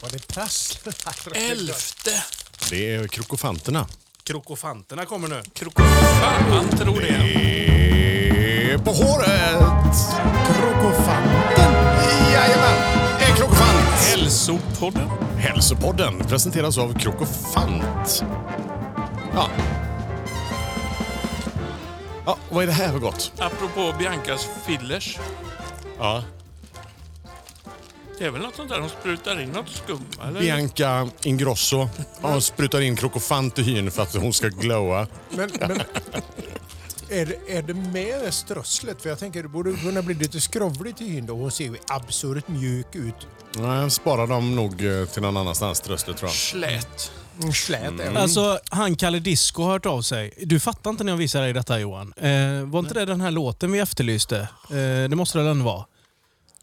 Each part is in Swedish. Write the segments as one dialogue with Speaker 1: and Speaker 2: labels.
Speaker 1: Var det prasslar?
Speaker 2: Elfte!
Speaker 3: Det är krokofanterna.
Speaker 1: Krokofanterna kommer nu.
Speaker 2: Fan tror det.
Speaker 3: Det är på håret!
Speaker 1: Krokofanten!
Speaker 3: Jajamän! En krokofant!
Speaker 2: Hälsopodden.
Speaker 3: Hälsopodden presenteras av Krokofant. Ja. Ja, vad är det här för gott?
Speaker 2: Apropå Biancas fillers.
Speaker 3: Ja.
Speaker 2: Det är väl något sånt där de sprutar in något skum? Eller?
Speaker 3: Bianca Ingrosso. Hon sprutar in krokofant i hyn för att hon ska glowa.
Speaker 1: Men, men är, det, är det med strösslet? För jag tänker det borde kunna bli lite skrovligt i hyn då. Hon ser ju absurt mjuk ut.
Speaker 3: Nej, jag sparar dem nog eh, till någon annanstans, tröstet tror jag.
Speaker 2: Slät.
Speaker 1: Hon Slät är
Speaker 3: Mm.
Speaker 1: hon.
Speaker 4: Alltså, han Kalle Disco har hört av sig. Du fattar inte när jag visade dig detta Johan. Eh, var inte det den här låten vi efterlyste? Eh, det måste det väl ändå vara?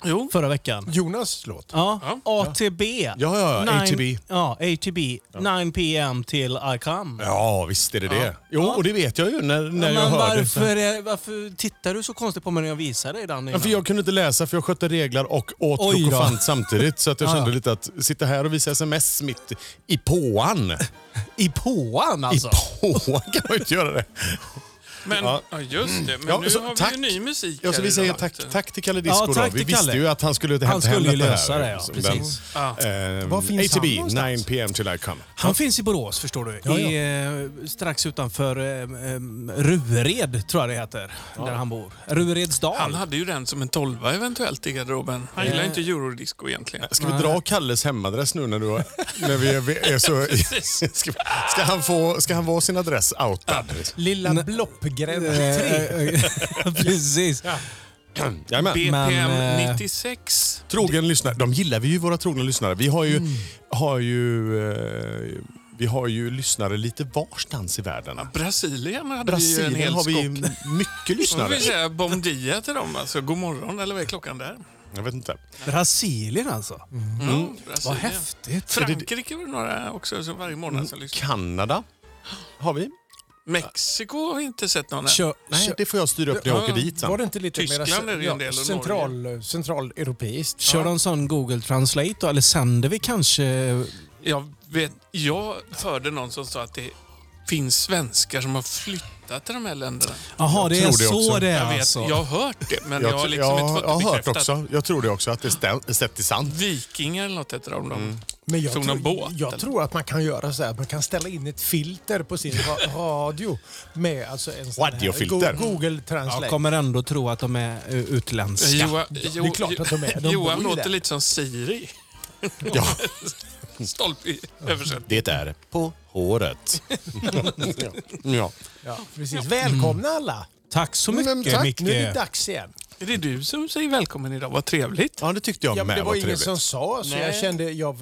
Speaker 2: Jo.
Speaker 4: Förra veckan.
Speaker 1: Jonas låt.
Speaker 4: Ja,
Speaker 2: Ja.
Speaker 4: ATB.
Speaker 3: ja, ja,
Speaker 4: Nine-
Speaker 3: ATB.
Speaker 4: Ja, ATB. 9 PM till I come.
Speaker 3: Ja, visst är det det. Jo, och det vet jag ju när, när
Speaker 4: men
Speaker 3: jag hör det.
Speaker 4: varför, är, varför tittar du så konstigt på mig när jag visar dig den?
Speaker 3: Ja,
Speaker 4: innan?
Speaker 3: för jag kunde inte läsa för jag skötte reglar och åt
Speaker 4: Oj då.
Speaker 3: krokofant samtidigt. Så att jag
Speaker 4: Ja,
Speaker 3: kände
Speaker 4: ja.
Speaker 3: lite att sitta här och visa sms mitt i påan.
Speaker 4: I påan
Speaker 3: I
Speaker 4: alltså?
Speaker 3: påan kan man ju inte göra det.
Speaker 2: Men, ja. just det. Men
Speaker 3: Ja,
Speaker 2: nu
Speaker 3: så
Speaker 2: har vi
Speaker 3: tack.
Speaker 2: ju ny musik
Speaker 3: Ja, så
Speaker 2: här
Speaker 3: vi
Speaker 2: i
Speaker 3: säger
Speaker 2: debatten.
Speaker 3: tack, tack till Kalle Disco
Speaker 4: Ja,
Speaker 3: då.
Speaker 4: tack
Speaker 3: Vi
Speaker 4: till
Speaker 3: visste
Speaker 4: Kalle.
Speaker 3: ju att han skulle hämta
Speaker 4: Han skulle ju
Speaker 3: hem detta
Speaker 4: lösa
Speaker 3: här.
Speaker 4: det, ja,
Speaker 3: Så
Speaker 4: precis.
Speaker 2: Ja.
Speaker 3: Den, eh,
Speaker 1: Var finns han
Speaker 3: ATB,
Speaker 1: någonstans?
Speaker 3: 9 pm till I come.
Speaker 4: Han finns i Borås förstår du.
Speaker 1: Ja, ja.
Speaker 4: I, eh, strax utanför eh, eh, Rured tror jag det heter. Där han bor. Ruredsdal.
Speaker 2: Han hade ju den som en tolva eventuellt i garderoben. Han
Speaker 3: Eh.
Speaker 2: gillar inte eurodisco egentligen.
Speaker 3: Ska vi dra Kalles hemadress nu när, du har, när vi är, vi är så... ska, ska, han få, ska han vara sin adress outad?
Speaker 1: Lilla
Speaker 4: Nej.
Speaker 1: Bloppgränd
Speaker 4: Eh, Precis.
Speaker 3: Jajamän.
Speaker 2: BPM
Speaker 4: Men, eh,
Speaker 2: 96.
Speaker 3: Trogen lyssnare. De gillar vi ju, våra trogna lyssnare. Vi har ju,
Speaker 2: Mm.
Speaker 3: har ju, eh, vi har ju lyssnare lite varstans i världen.
Speaker 2: Brasilien hade vi ju en
Speaker 3: Brasilien
Speaker 2: hel
Speaker 3: har vi ju
Speaker 2: skock.
Speaker 3: mycket
Speaker 2: Då får
Speaker 3: lyssnare.
Speaker 2: vi säga bom dia till dem. Alltså, god morgon, eller vad är klockan där?
Speaker 3: Jag vet inte.
Speaker 4: Brasilien alltså.
Speaker 2: Mm.
Speaker 4: Vad
Speaker 2: Brasilien.
Speaker 4: häftigt.
Speaker 2: Frankrike var det några också som varje morgon som lyssnar.
Speaker 3: Kanada har vi.
Speaker 2: Mexiko har vi inte sett någon än.
Speaker 4: Kör,
Speaker 3: Nej,
Speaker 4: kör,
Speaker 3: det får jag styra upp när jag åker dit
Speaker 1: Var det
Speaker 3: sen.
Speaker 1: inte lite
Speaker 2: Tyskland är det ju en del av
Speaker 1: central, eh, centraleuropeiskt?
Speaker 4: kör de sån Google Translate då? Eller sänder vi kanske?
Speaker 2: Jag, vet, jag hörde någon som sa att det finns svenskar som har flyttat till de här länderna.
Speaker 4: Jaha, det är
Speaker 3: tror det
Speaker 4: så
Speaker 3: också.
Speaker 4: det är
Speaker 2: Jag, vet,
Speaker 4: alltså.
Speaker 2: jag har hört det, men jag,
Speaker 3: Jag,
Speaker 2: har
Speaker 3: tr-
Speaker 2: liksom
Speaker 3: jag,
Speaker 2: inte fått
Speaker 3: jag
Speaker 2: det
Speaker 3: har hört
Speaker 2: bekräftat.
Speaker 3: också. Jag tror det också, att det är sett i sand.
Speaker 2: Vikingar eller något heter de. Mm.
Speaker 1: Men jag,
Speaker 2: Tog
Speaker 1: tror,
Speaker 2: någon båt,
Speaker 1: jag
Speaker 2: eller?
Speaker 1: tror att man kan göra så här. Man kan ställa in ett filter på sin ra- radio med alltså en sån här
Speaker 3: Radiofilter.
Speaker 1: Go- Google
Speaker 4: Jag
Speaker 1: Translate.
Speaker 4: kommer ändå tro att de är eh, utländska.
Speaker 2: Joa,
Speaker 1: det är klart att de är. De
Speaker 2: Johan
Speaker 1: bor ju
Speaker 2: låter
Speaker 1: där.
Speaker 2: lite som Siri.
Speaker 3: Ja,
Speaker 2: Stolpig översättning.
Speaker 3: det är på håret. ja.
Speaker 1: Ja, precis. Välkomna alla!
Speaker 4: Tack så
Speaker 3: Men
Speaker 4: mycket
Speaker 3: tack,
Speaker 4: Micke.
Speaker 1: Mm, Nu är det dags igen.
Speaker 2: Är det du som säger välkommen idag? Vad trevligt.
Speaker 3: ja, det tyckte jag
Speaker 1: Ja, men
Speaker 3: med
Speaker 1: det var
Speaker 3: var
Speaker 1: ingen
Speaker 3: trevligt.
Speaker 1: som sa, så jag
Speaker 2: Nej.
Speaker 1: kände jag,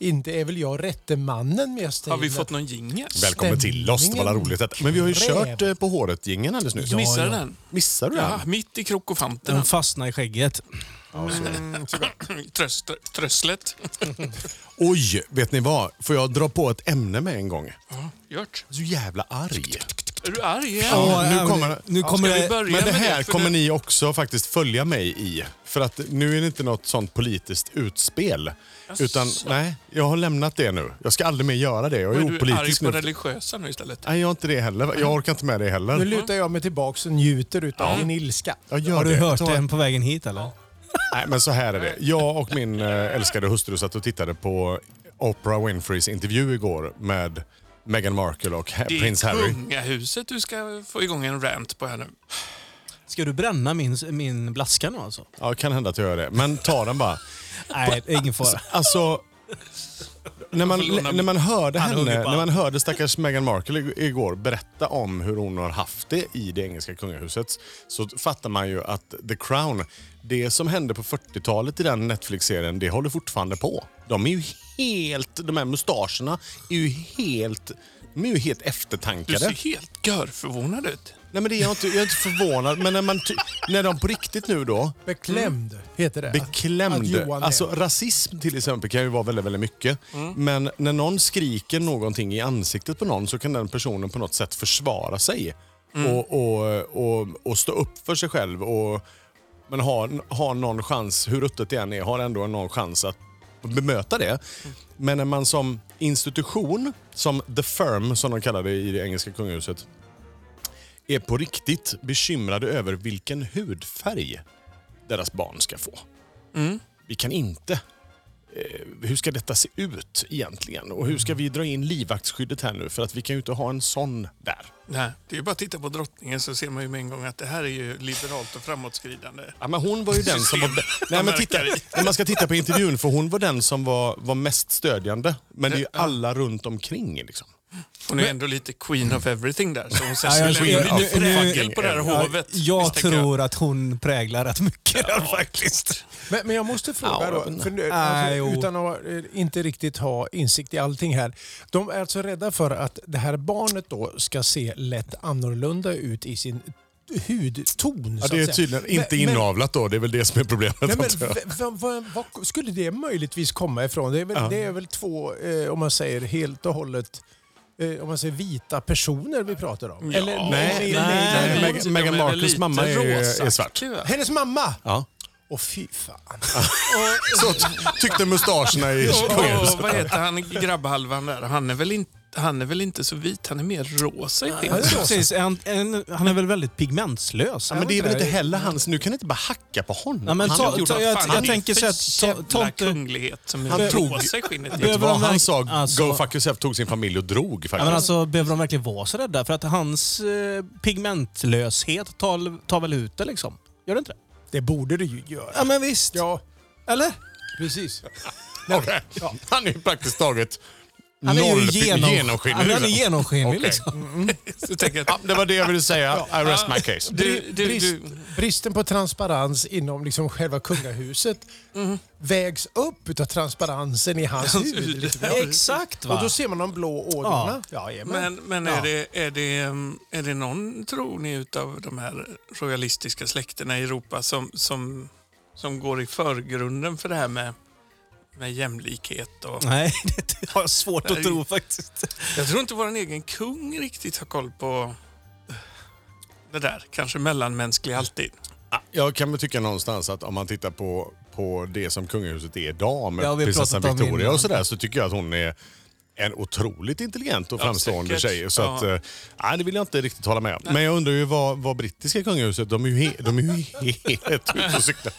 Speaker 1: inte är väl jag rätte mannen mest.
Speaker 2: Har vi fått någon jingel?
Speaker 3: Välkommen till oss, det var
Speaker 1: Stämningen
Speaker 3: roligt. detta. Men vi har ju
Speaker 1: kräver.
Speaker 3: kört eh, på håret-gängen alldeles nyss.
Speaker 2: Missar du den?
Speaker 3: Missar du den?
Speaker 2: Ja, mitt i krokofanterna.
Speaker 4: De fastnar i skägget.
Speaker 2: Tröst, trösslet.
Speaker 3: Oj, vet ni vad? Får jag dra på ett ämne med en gång?
Speaker 2: Ja, gjort.
Speaker 3: Så jävla arg.
Speaker 2: Är du arg igen?
Speaker 3: Ja,
Speaker 4: Ja,
Speaker 3: nu kommer det.
Speaker 4: Nu kommer
Speaker 2: Ska vi
Speaker 4: det.
Speaker 2: börja
Speaker 3: Men det
Speaker 2: med
Speaker 3: här
Speaker 2: för
Speaker 3: kommer
Speaker 2: nu-
Speaker 3: ni också faktiskt följa mig i. För att nu är det inte något sånt politiskt utspel. Utan nej, jag har lämnat det nu. Jag ska aldrig mer göra det. Jag är,
Speaker 2: Men du är arg
Speaker 3: opolitisk
Speaker 2: på
Speaker 3: nu.
Speaker 2: religiösa nu istället.
Speaker 3: Nej, jag är inte det heller. Jag orkar inte med det
Speaker 1: Nu
Speaker 3: heller.
Speaker 1: lutar jag mig tillbaka och njuter utav din ilska.
Speaker 3: Jag gör
Speaker 4: Har du
Speaker 3: det.
Speaker 4: hört
Speaker 3: Ta-
Speaker 4: den på vägen hit eller?
Speaker 3: Nej, men så här är det. Jag och min eh, älskade hustru satt och tittade på Oprah Winfreys intervju igår med Meghan Markle och ha-
Speaker 2: Det är
Speaker 3: prins Harry.
Speaker 2: kungahuset du ska få igång en rant på här nu.
Speaker 4: Ska du bränna min, min blaska nu alltså?
Speaker 3: Ja, kan hända att jag gör det. Men ta den bara.
Speaker 4: Nej, det är ingen fara.
Speaker 3: Alltså, när man,
Speaker 2: låna-
Speaker 3: när man hörde
Speaker 4: Han
Speaker 3: henne,
Speaker 4: hugger bara.
Speaker 3: när man hörde stackars Meghan Markle ig- igår berätta om hur hon har haft det i det engelska kungahuset så fattar man ju att The Crown, det som hände på 40-talet i den Netflix-serien, det håller fortfarande på. De är ju helt, de här mustascherna är ju helt de är ju helt
Speaker 2: Du ser
Speaker 3: eftertankade.
Speaker 2: helt görförvånad ut.
Speaker 3: Nej, men det är jag, inte, jag är inte förvånad, men när, man ty- när de på riktigt nu då
Speaker 1: Beklämd heter det. Att
Speaker 3: Beklämd.
Speaker 1: Johan är- Mm.
Speaker 3: Alltså, rasism till exempel kan ju vara väldigt, väldigt mycket. Men när någon skriker någonting i ansiktet på någon så kan den personen på något sätt försvara sig.
Speaker 1: Mm.
Speaker 3: Och, och, och, och stå upp för sig själv. Och, men har, har någon chans, hur ruttet det än är, har ändå någon chans att bemöta det.
Speaker 1: Mm.
Speaker 3: Men när man som institution, som the firm som de kallar det i det engelska kungahuset, är på riktigt bekymrade över vilken hudfärg deras barn ska få. Vi kan inte. Eh, hur ska detta se ut egentligen? Och hur ska vi dra in livvaktsskyddet här nu? För att vi kan ju inte ha en sån där.
Speaker 2: Nej, det är ju bara att titta på drottningen så ser man ju med en gång att det här är ju liberalt och framåtskridande.
Speaker 3: Ja, men hon var ju den som var...
Speaker 2: System.
Speaker 3: Nej, men
Speaker 2: Man
Speaker 3: titta,
Speaker 2: märker
Speaker 3: när man ska titta på intervjun, för hon var den som var, var mest stödjande. Men det är ju
Speaker 2: Ja.
Speaker 3: alla runt omkring. Liksom.
Speaker 2: Hon är ändå lite queen of everything där, så hon sätts
Speaker 4: Ja,
Speaker 2: väl
Speaker 4: jag-
Speaker 2: ändå
Speaker 4: jag-
Speaker 2: lite
Speaker 4: nu- nu-
Speaker 2: prägel på det här
Speaker 4: Ja,
Speaker 2: hovet.
Speaker 4: jag
Speaker 2: misstänker jag.
Speaker 4: tror att hon präglar rätt mycket där faktiskt.
Speaker 1: Men, men jag måste fråga
Speaker 3: Ja, men-
Speaker 1: då, för, nu-
Speaker 4: Nej, jo.
Speaker 1: alltså, utan att eh, inte riktigt ha insikt i allting här. De är alltså rädda för att det här barnet då ska se lätt annorlunda ut i sin hudton.
Speaker 3: Ja,
Speaker 1: så
Speaker 3: det är
Speaker 1: att säga.
Speaker 3: tydligen inte
Speaker 1: Men- men-
Speaker 3: inavlat då. Det är väl det som är problemet.
Speaker 1: Nej, men,
Speaker 3: antar jag.
Speaker 1: v- v- vad- vad skulle det möjligtvis komma ifrån? Det är väl, det är väl två, eh, om man säger helt och hållet, eh, om man säger vita personer vi pratar om?
Speaker 2: Ja.
Speaker 1: Eller,
Speaker 3: Nej,
Speaker 4: nej,
Speaker 1: Meg-
Speaker 2: Men
Speaker 3: Meg-
Speaker 2: de
Speaker 3: Meghan
Speaker 2: är väl
Speaker 3: Markles
Speaker 2: lite
Speaker 3: mamma är ju-
Speaker 2: rosa.
Speaker 3: är svart.
Speaker 2: Kul.
Speaker 1: Hennes mamma!
Speaker 3: ja.
Speaker 1: Och fy fan.
Speaker 3: Så ty- tyckte mustascherna i
Speaker 2: Och,
Speaker 3: kungahuset.
Speaker 2: och vad heter han, grabbhalvan där? Han är, väl inte, han är väl inte så vit, han är mer rosa i
Speaker 4: Ja,
Speaker 2: skinnet.
Speaker 4: Precis, han, en, han är väl väldigt pigmentslös?
Speaker 3: Ja, men det är väl inte heller hans... Nu kan ni inte bara hacka på honom.
Speaker 4: Ja, men
Speaker 3: han,
Speaker 4: ta-
Speaker 3: har gjort-
Speaker 4: ta- jag-
Speaker 2: Fan,
Speaker 4: jag
Speaker 2: han är
Speaker 4: tänker
Speaker 2: för
Speaker 4: så att to-
Speaker 2: jävla
Speaker 4: tomte-
Speaker 2: kunglighet som är
Speaker 3: Han tog- Mm.
Speaker 2: rosa i skinnet.
Speaker 3: vet du
Speaker 4: behöver
Speaker 3: vad
Speaker 4: de verk-
Speaker 3: han sa?
Speaker 4: alltså-
Speaker 3: Go fuck yourself tog sin familj och drog faktiskt.
Speaker 4: Ja, men alltså, behöver de verkligen vara så rädda? För att hans eh, pigmentlöshet tar, tar väl ut det liksom? Gör det inte det?
Speaker 1: Det borde det ju göra.
Speaker 4: Ja, men visst.
Speaker 1: Ja,
Speaker 4: Eller?
Speaker 1: precis.
Speaker 3: Okej. Han är ju praktiskt taget
Speaker 4: Han är
Speaker 3: noll
Speaker 4: ju
Speaker 3: pi-
Speaker 4: genom,
Speaker 3: genomskinlig. liksom.
Speaker 4: Han är genomskinlig
Speaker 3: Okej.
Speaker 4: liksom.
Speaker 2: Mm. Så tänker jag
Speaker 3: Ja,
Speaker 2: att,
Speaker 3: det var det jag ville säga. I rest my case.
Speaker 2: du, du,
Speaker 1: Brist,
Speaker 2: du,
Speaker 1: bristen på transparens inom liksom själva kungahuset vägs upp av transparensen i hans
Speaker 2: Mm. Hans
Speaker 1: hud.
Speaker 2: hud.
Speaker 1: Lite
Speaker 2: Ja,
Speaker 1: mer.
Speaker 4: Exakt va?
Speaker 1: Och då ser man de blå ådrorna. Ja.
Speaker 2: Men,
Speaker 1: jajamän.
Speaker 2: men är, det, är, det, um, är det någon, tror ni, utav de här royalistiska släkterna i Europa som, som, som går i förgrunden för det här med, med jämlikhet? Och...
Speaker 4: Nej, det har jag svårt att
Speaker 2: Nej.
Speaker 4: tro faktiskt.
Speaker 2: Jag tror inte vår egen kung riktigt har koll på det där. Kanske mellanmänsklig alltid.
Speaker 3: Jag kan väl tycka någonstans att om man tittar på, på det som kungahuset är idag med
Speaker 4: Ja, vi har
Speaker 3: prinsessan
Speaker 4: pratat om
Speaker 3: Victoria
Speaker 4: innan.
Speaker 3: och sådär så tycker jag att hon är en otroligt intelligent och
Speaker 2: Ja,
Speaker 3: framstående
Speaker 2: säkert.
Speaker 3: tjej. Så
Speaker 2: Ja.
Speaker 3: att, eh, nej, det vill jag inte riktigt hålla med om. Men jag undrar ju vad, vad brittiska kungahuset, de är ju, he, de är ju helt ute och cyklar.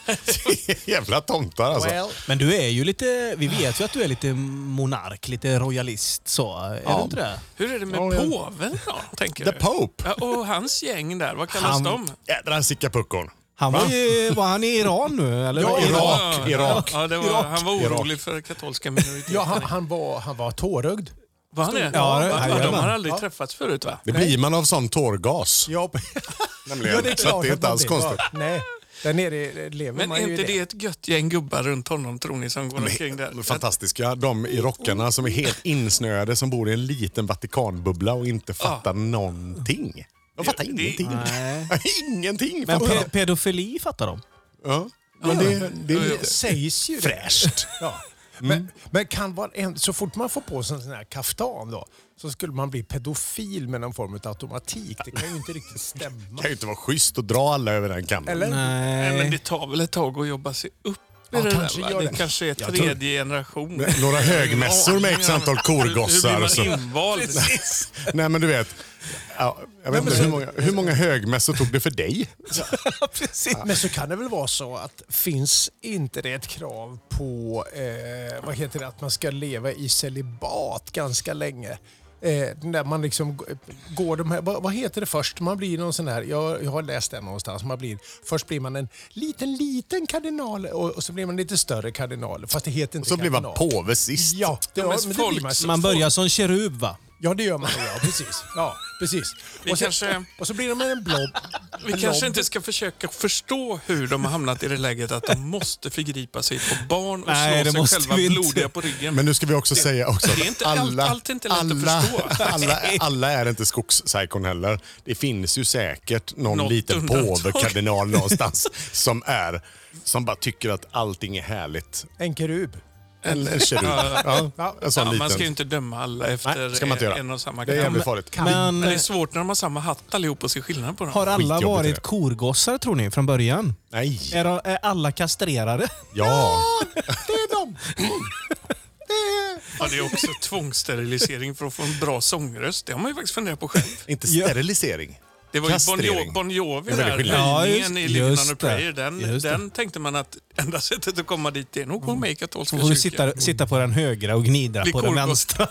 Speaker 3: Jävla tomtar alltså.
Speaker 1: Well,
Speaker 4: Men du är ju lite, vi vet ju att du är lite monark, lite royalist så. Är du inte det?
Speaker 2: Hur är det med
Speaker 3: Ja, jag-
Speaker 2: påven då, tänker
Speaker 3: The
Speaker 2: du?
Speaker 3: Pope!
Speaker 2: Ja, och hans gäng där, vad kallas
Speaker 4: Han-
Speaker 2: de?
Speaker 3: Jädrar sicka puckon.
Speaker 4: Han var, ju, var han i Iran nu? Eller?
Speaker 1: Ja,
Speaker 4: Iran.
Speaker 3: Irak,
Speaker 2: Ja,
Speaker 3: Irak.
Speaker 2: Ja, det var,
Speaker 3: Irak,
Speaker 2: han var
Speaker 3: Irak.
Speaker 2: orolig för katolska minoriteter.
Speaker 1: ja, han, han, var, han var tårögd.
Speaker 2: var han det? Ja,
Speaker 4: Ja, ja,
Speaker 2: de har
Speaker 4: jajamän.
Speaker 2: aldrig träffats förut va?
Speaker 3: Det blir man av sån tårgas.
Speaker 1: Ja,
Speaker 3: Nämligen. så att det är inte
Speaker 1: man
Speaker 3: alls
Speaker 1: blir.
Speaker 3: konstigt.
Speaker 1: Ja, Nej, där nere lever
Speaker 2: Men
Speaker 1: man
Speaker 2: är
Speaker 1: ju
Speaker 2: inte
Speaker 1: i
Speaker 2: det ett gött gäng gubbar runt honom tror ni som går omkring där?
Speaker 3: De är fantastiska. De i rockarna som är helt insnöade, som bor i en liten Vatikanbubbla och inte fattar någonting. De fattar
Speaker 2: det-
Speaker 3: ingenting.
Speaker 4: Nej.
Speaker 3: ingenting
Speaker 4: Men
Speaker 3: fattar
Speaker 4: pe- pedofili fattar de.
Speaker 3: de. Ja. Men det, det är
Speaker 2: Ja, ja.
Speaker 3: lite
Speaker 1: sägs ju det.
Speaker 3: fräscht. Mm.
Speaker 1: Ja. Men, men kan vara en, så fort man får på sig en sån här kaftan då, så skulle man bli pedofil med någon form av automatik. Det kan ju inte riktigt
Speaker 3: Det
Speaker 1: stämma.
Speaker 3: kan ju inte vara schysst att dra alla över en kam.
Speaker 1: Eller?
Speaker 2: Nej, men
Speaker 4: Nej.
Speaker 2: det tar väl ett tag att jobba sig upp i
Speaker 1: Ja,
Speaker 2: det
Speaker 1: kanske
Speaker 2: där, va?
Speaker 1: gör
Speaker 2: Det
Speaker 1: det.
Speaker 2: kanske är
Speaker 3: tror-
Speaker 2: tredje generation.
Speaker 3: Några högmässor med x antal
Speaker 2: Hur, hur
Speaker 3: korgossar.
Speaker 2: blir
Speaker 3: Så.
Speaker 2: man invald?
Speaker 3: Nej men du vet. Ja, jag vet inte, hur, många, hur många högmässor tog det för dig?
Speaker 4: Precis.
Speaker 1: Men så kan det väl vara så att finns inte det ett krav på eh, vad heter det, att man ska leva i celibat ganska länge? Eh, när man liksom g- går de här, vad, vad heter det först? Man blir någon sån här, jag, jag har läst det någonstans, man blir, först blir man en liten, liten kardinal och, och så blir man lite större kardinal. Fast det heter inte
Speaker 3: Så blir man
Speaker 1: kardinal.
Speaker 3: påve sist.
Speaker 1: Ja, det,
Speaker 2: Ja, men
Speaker 1: ja, men det
Speaker 2: folk-
Speaker 1: blir man.
Speaker 4: Man börjar som kerub va?
Speaker 1: Ja, det gör man. Ja, precis. Ja, precis.
Speaker 2: Vi
Speaker 1: Och, sen,
Speaker 2: kanske-
Speaker 1: och så blir de en blob.
Speaker 2: Vi
Speaker 1: en
Speaker 2: kanske
Speaker 1: blob.
Speaker 2: inte ska försöka förstå hur de har hamnat i det läget att de måste förgripa sig på barn och
Speaker 4: Nej, det
Speaker 2: slå sig
Speaker 4: måste
Speaker 2: själva
Speaker 4: vi inte.
Speaker 2: blodiga på ryggen.
Speaker 3: Men nu ska vi också säga också
Speaker 2: det är inte- allt-
Speaker 3: alla,
Speaker 2: allt är inte lätt att
Speaker 3: alla,
Speaker 2: förstå.
Speaker 3: alla, alla är inte skogspsykon heller. Det finns ju säkert någon
Speaker 2: Något
Speaker 3: liten
Speaker 2: undantag.
Speaker 3: påvekardinal någonstans som är som bara tycker att allting är härligt.
Speaker 1: En kerub.
Speaker 3: En, en kerub. Ja, en
Speaker 2: ja,
Speaker 3: sån liten.
Speaker 2: man ska ju inte döma alla efter
Speaker 3: Nej, ska man inte göra.
Speaker 2: en och samma
Speaker 3: Det är
Speaker 2: gamla.
Speaker 3: jävligt farligt.
Speaker 4: Men,
Speaker 2: Men det är svårt när de har samma hatt allihop och ser skillnad på dem.
Speaker 4: Har alla
Speaker 3: Skitjobbigt är
Speaker 4: varit
Speaker 3: det.
Speaker 4: korgossar tror ni från början?
Speaker 3: Nej.
Speaker 4: Är, är alla kastrerade?
Speaker 3: Ja.
Speaker 1: Det är de!
Speaker 2: Ja, det är också tvångssterilisering för att få en bra sångröst. Det har man ju faktiskt funderat på själv.
Speaker 3: Inte
Speaker 4: Ja.
Speaker 3: sterilisering.
Speaker 2: Det var ju Bon, jo-
Speaker 3: Kastrering.
Speaker 2: bon Jovi
Speaker 3: Det är
Speaker 2: där,
Speaker 3: väldigt skillnad.
Speaker 4: Ja,
Speaker 2: höjningen i
Speaker 4: just-
Speaker 2: Living
Speaker 4: just
Speaker 2: on a
Speaker 4: det.
Speaker 2: prayer. Den,
Speaker 4: Just det.
Speaker 2: den tänkte man att enda sättet att komma dit är
Speaker 3: Mm.
Speaker 2: nog att gå med i katolska
Speaker 4: Då får vi
Speaker 2: kyrkan.
Speaker 4: sitta, sitta på den högra och gnida
Speaker 2: Bli
Speaker 4: på den
Speaker 2: korkåt.
Speaker 4: vänstra.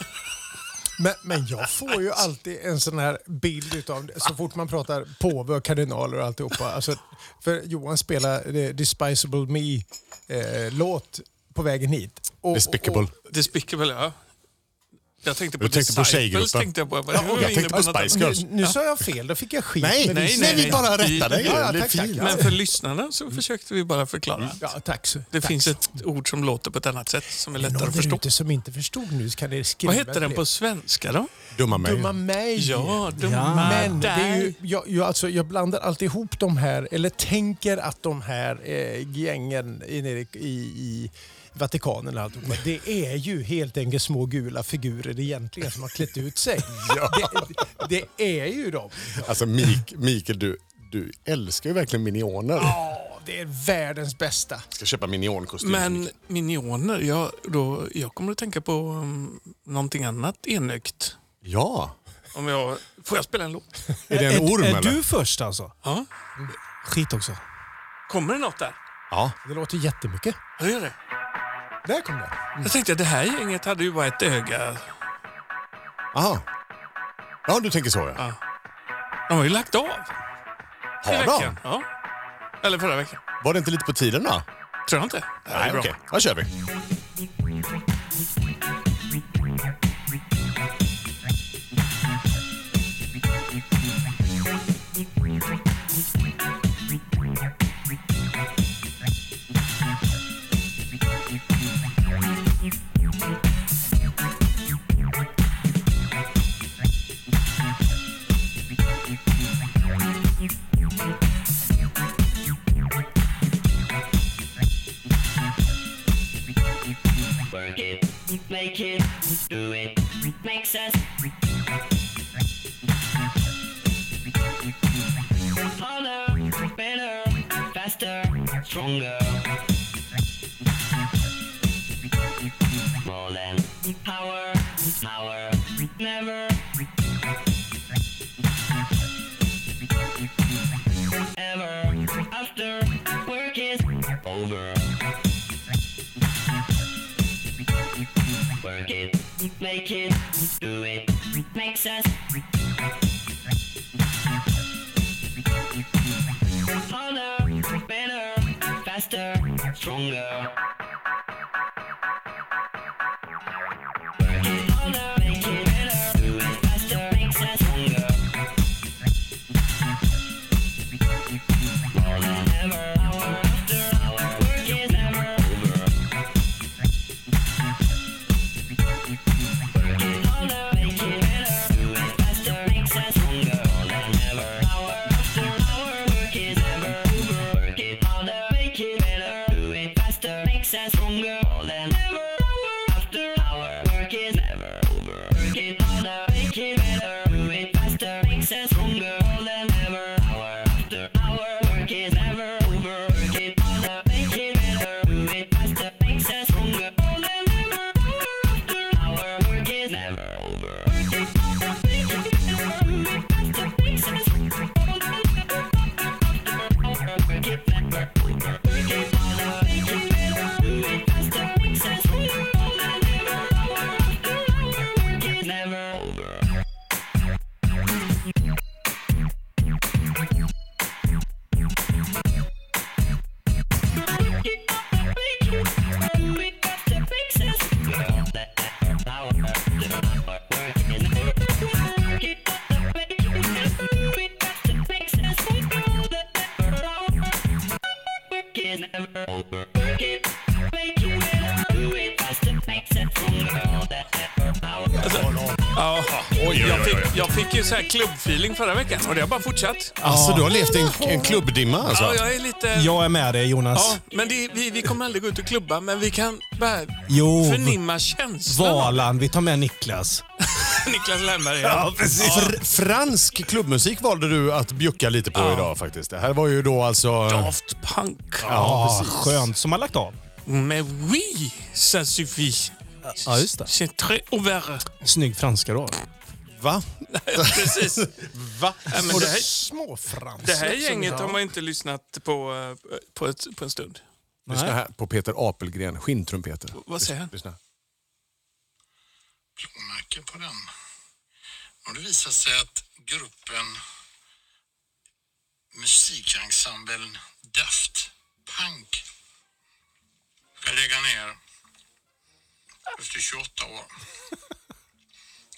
Speaker 1: Men, men jag får ju alltid en sån här bild utav det, så fort man pratar påve och kardinaler och alltihopa. Alltså, för Johan spelar eh, Despicable Me-låt på vägen hit. Och-
Speaker 3: Despicable.
Speaker 1: och-
Speaker 2: Despicable, ja. Jag tänkte på
Speaker 3: Du tänkte på
Speaker 2: Disciples.
Speaker 3: tjejgruppen.
Speaker 2: tänkte jag på. Jag, bara,
Speaker 3: Ja,
Speaker 2: nu är vi
Speaker 3: jag
Speaker 2: inne
Speaker 3: tänkte på
Speaker 2: något annat.
Speaker 3: Spice
Speaker 1: Nu,
Speaker 3: Girls.
Speaker 1: nu sa jag fel, då fick jag skit.
Speaker 3: Nej,
Speaker 1: Men
Speaker 3: nej,
Speaker 1: visst-
Speaker 2: nej,
Speaker 3: nej,
Speaker 2: nej.
Speaker 3: vi bara rättar dig.
Speaker 1: Ja, ja,
Speaker 3: Det blir
Speaker 1: tack, tack,
Speaker 3: fint.
Speaker 1: ja.
Speaker 2: Men för lyssnarna
Speaker 3: Mm.
Speaker 2: så försökte vi bara förklara. att
Speaker 1: Ja, tack så.
Speaker 2: Det
Speaker 1: tack.
Speaker 2: finns ett ord som låter på ett annat sätt som är lättare
Speaker 1: Någon
Speaker 2: att
Speaker 1: där
Speaker 2: förstå.
Speaker 1: ute som inte förstod nu så kan ni skriva
Speaker 2: Vad heter den
Speaker 1: det.
Speaker 2: på svenska då?
Speaker 3: Dumma mig.
Speaker 1: Dumma mig.
Speaker 2: Ja, de
Speaker 4: Ja.
Speaker 1: Men det är ju,
Speaker 2: Ah, där.
Speaker 1: jag, jag, alltså, jag blandar alltid ihop de här, eller tänker att de här eh, gängen i, nere i, i Vatikanen och alltihopa, det är ju helt enkelt små gula figurer egentligen som har klätt ut sig. det, det är ju de.
Speaker 3: Alltså Mik, Mikael, du, du älskar ju verkligen minioner.
Speaker 1: Ja, det är världens bästa.
Speaker 3: Jag ska köpa minionkostym.
Speaker 2: Men minioner, jag, då, jag kommer att tänka på um, någonting annat enögt.
Speaker 3: Ja.
Speaker 2: Om jag, får jag spela en låt?
Speaker 3: Är det en orm
Speaker 4: är, är
Speaker 3: eller?
Speaker 4: du först alltså?
Speaker 2: Ja.
Speaker 4: Skit också.
Speaker 2: Kommer det något där?
Speaker 3: Ja.
Speaker 1: Det låter jättemycket.
Speaker 2: Ja, det gör det.
Speaker 1: Där kom det.
Speaker 2: Jag tänkte att det här gänget hade ju bara ett öga.
Speaker 3: Aha. Ja, du tänker så ja.
Speaker 2: De har ju lagt av. I
Speaker 3: Har de?
Speaker 2: veckan. Ja. Eller förra veckan.
Speaker 3: Var det inte lite på tiden då?
Speaker 2: Tror jag inte. Det här är
Speaker 3: Nej,
Speaker 2: bra.
Speaker 3: okej. Då kör vi.
Speaker 5: Work it, make it, do it, makes us. Harder, better, faster, stronger. More than power, power, never. Ever after work is over. Work it, make it, do it, makes us harder, better, faster, stronger. Work it harder, make it better, do it faster, makes us stronger. More than ever, hour after hour, work is never over. Never over. Never over.
Speaker 2: Ja.
Speaker 3: oj,
Speaker 2: Jag,
Speaker 3: oj, oj.
Speaker 2: fick, jag fick ju så här klubbfeeling förra veckan och det har bara fortsatt.
Speaker 3: Alltså, du har levt i en, en klubbdimma alltså?
Speaker 2: Ja, jag är lite...
Speaker 4: Jag är med dig Jonas.
Speaker 2: Ja, men det, vi, vi kommer aldrig gå ut och klubba, men vi kan bara
Speaker 4: Jo,
Speaker 3: Oh,
Speaker 2: förnimma känslan.
Speaker 4: Valand, vi tar med Niklas.
Speaker 2: Niklas Lennberg.
Speaker 4: precis.
Speaker 3: Fr- fransk klubbmusik valde du att bjucka lite på idag faktiskt. Det här var ju då alltså...
Speaker 2: Daft Punk.
Speaker 4: Ja, skönt som har lagt av.
Speaker 2: Mais oui, ça suffit.
Speaker 4: Ja, just det.
Speaker 2: C'est très ouvert.
Speaker 4: Snygg franska då.
Speaker 3: Va?
Speaker 2: Precis.
Speaker 3: Va?
Speaker 2: Ja, men det, här,
Speaker 1: Småfrans.
Speaker 2: det här gänget har man inte lyssnat på eh, på, ett, på en stund.
Speaker 3: Lyssna här på Peter Apelgren, skinntrumpeten.
Speaker 2: Vad säger han?
Speaker 3: Lyssna.
Speaker 6: klockmärke på den. Och det visade sig att gruppen musikensemblen Daft Punk ska lägga ner efter 28 år.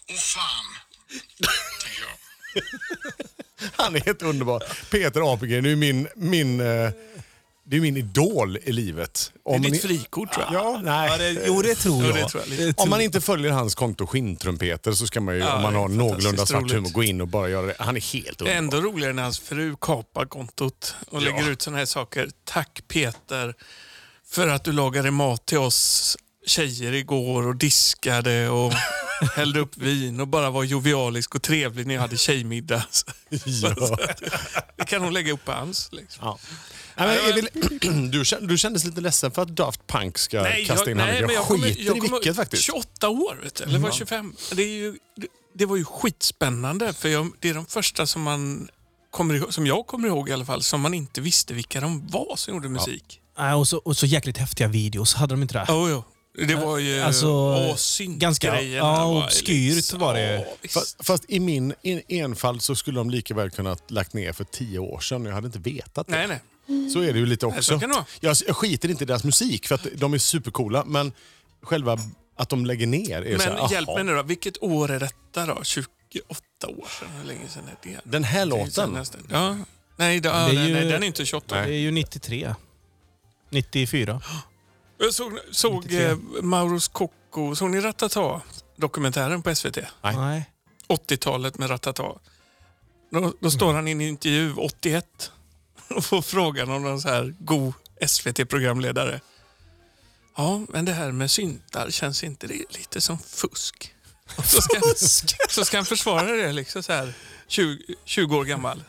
Speaker 6: Åh fan, tänker jag.
Speaker 3: Han är helt underbar. Peter Apelgren är ju min, min, eh, det är min idol i livet. Om
Speaker 2: det är
Speaker 3: ni-
Speaker 2: ditt frikort tror jag.
Speaker 3: Ja, nej.
Speaker 4: jo, det tror
Speaker 2: jag. det tror jag lite.
Speaker 3: Om man inte följer hans konto skintrumpeter så ska man ju, om man
Speaker 2: det är
Speaker 3: har någorlunda
Speaker 2: fantastiskt
Speaker 3: svart
Speaker 2: roligt.
Speaker 3: humor, gå in och bara göra det. Han är helt
Speaker 2: Det är
Speaker 3: underbar.
Speaker 2: ändå roligare när hans fru kapar kontot och lägger ut sådana här saker. Tack Peter för att du lagade mat till oss tjejer igår och diskade och hällde upp vin och bara var jovialisk och trevlig när jag hade tjejmiddag.
Speaker 3: Ja.
Speaker 2: Det kan hon lägga upp på hans. Liksom.
Speaker 3: Ja. Nej, men, Emil, du, kände, du kändes lite ledsen för att Daft Punk ska kasta in handen. Jag, skiter i vilket faktiskt. Mm.
Speaker 2: 28 år, vet du, eller var 25. Det, är ju, det, det var ju skitspännande för jag, det är de första som man kommer ihåg, som jag kommer ihåg i alla fall, som man inte visste vilka de var som gjorde musik.
Speaker 4: Nej, och, så, och så jäkligt häftiga videos. Hade de inte det?
Speaker 2: Jo, jo. Det var ju
Speaker 4: Alltså,
Speaker 2: åh, syntgrejerna
Speaker 4: ganska- ja,
Speaker 2: var ju
Speaker 4: obskyrt var det.
Speaker 2: Ja, visst.
Speaker 3: Fast, fast i min en- enfald så skulle de lika väl kunnat lagt ner för tio år sedan. Jag hade inte vetat det.
Speaker 2: Nej, nej.
Speaker 3: Så är det ju lite också.
Speaker 2: så kan det vara.
Speaker 3: Jag, jag skiter inte i deras musik för att de är supercoola, men själva att de lägger ner är så
Speaker 2: Men
Speaker 3: här,
Speaker 2: hjälp
Speaker 3: aha.
Speaker 2: mig nu då. Vilket år är detta då? 28 år sedan? Hur länge sedan är det?
Speaker 3: Den här
Speaker 2: Det är ju
Speaker 3: låten?
Speaker 2: nästan- Ja. Nej, det,
Speaker 4: Det är
Speaker 2: nej,
Speaker 4: ju-
Speaker 2: nej, den är inte 28.
Speaker 4: Det är ju 93. 94.
Speaker 2: Jag såg, såg eh, Mauros Coco, såg ni Ratata? Dokumentären på SVT.
Speaker 3: Nej.
Speaker 4: Nej.
Speaker 2: 80-talet med Ratata. Då, då står han i en intervju 81 och får frågan om någon så här god SVT-programledare. Ja, men det här med syntar, känns inte det lite som fusk? Och Så ska, så ska han försvara det liksom så här 20, 20 år gammal.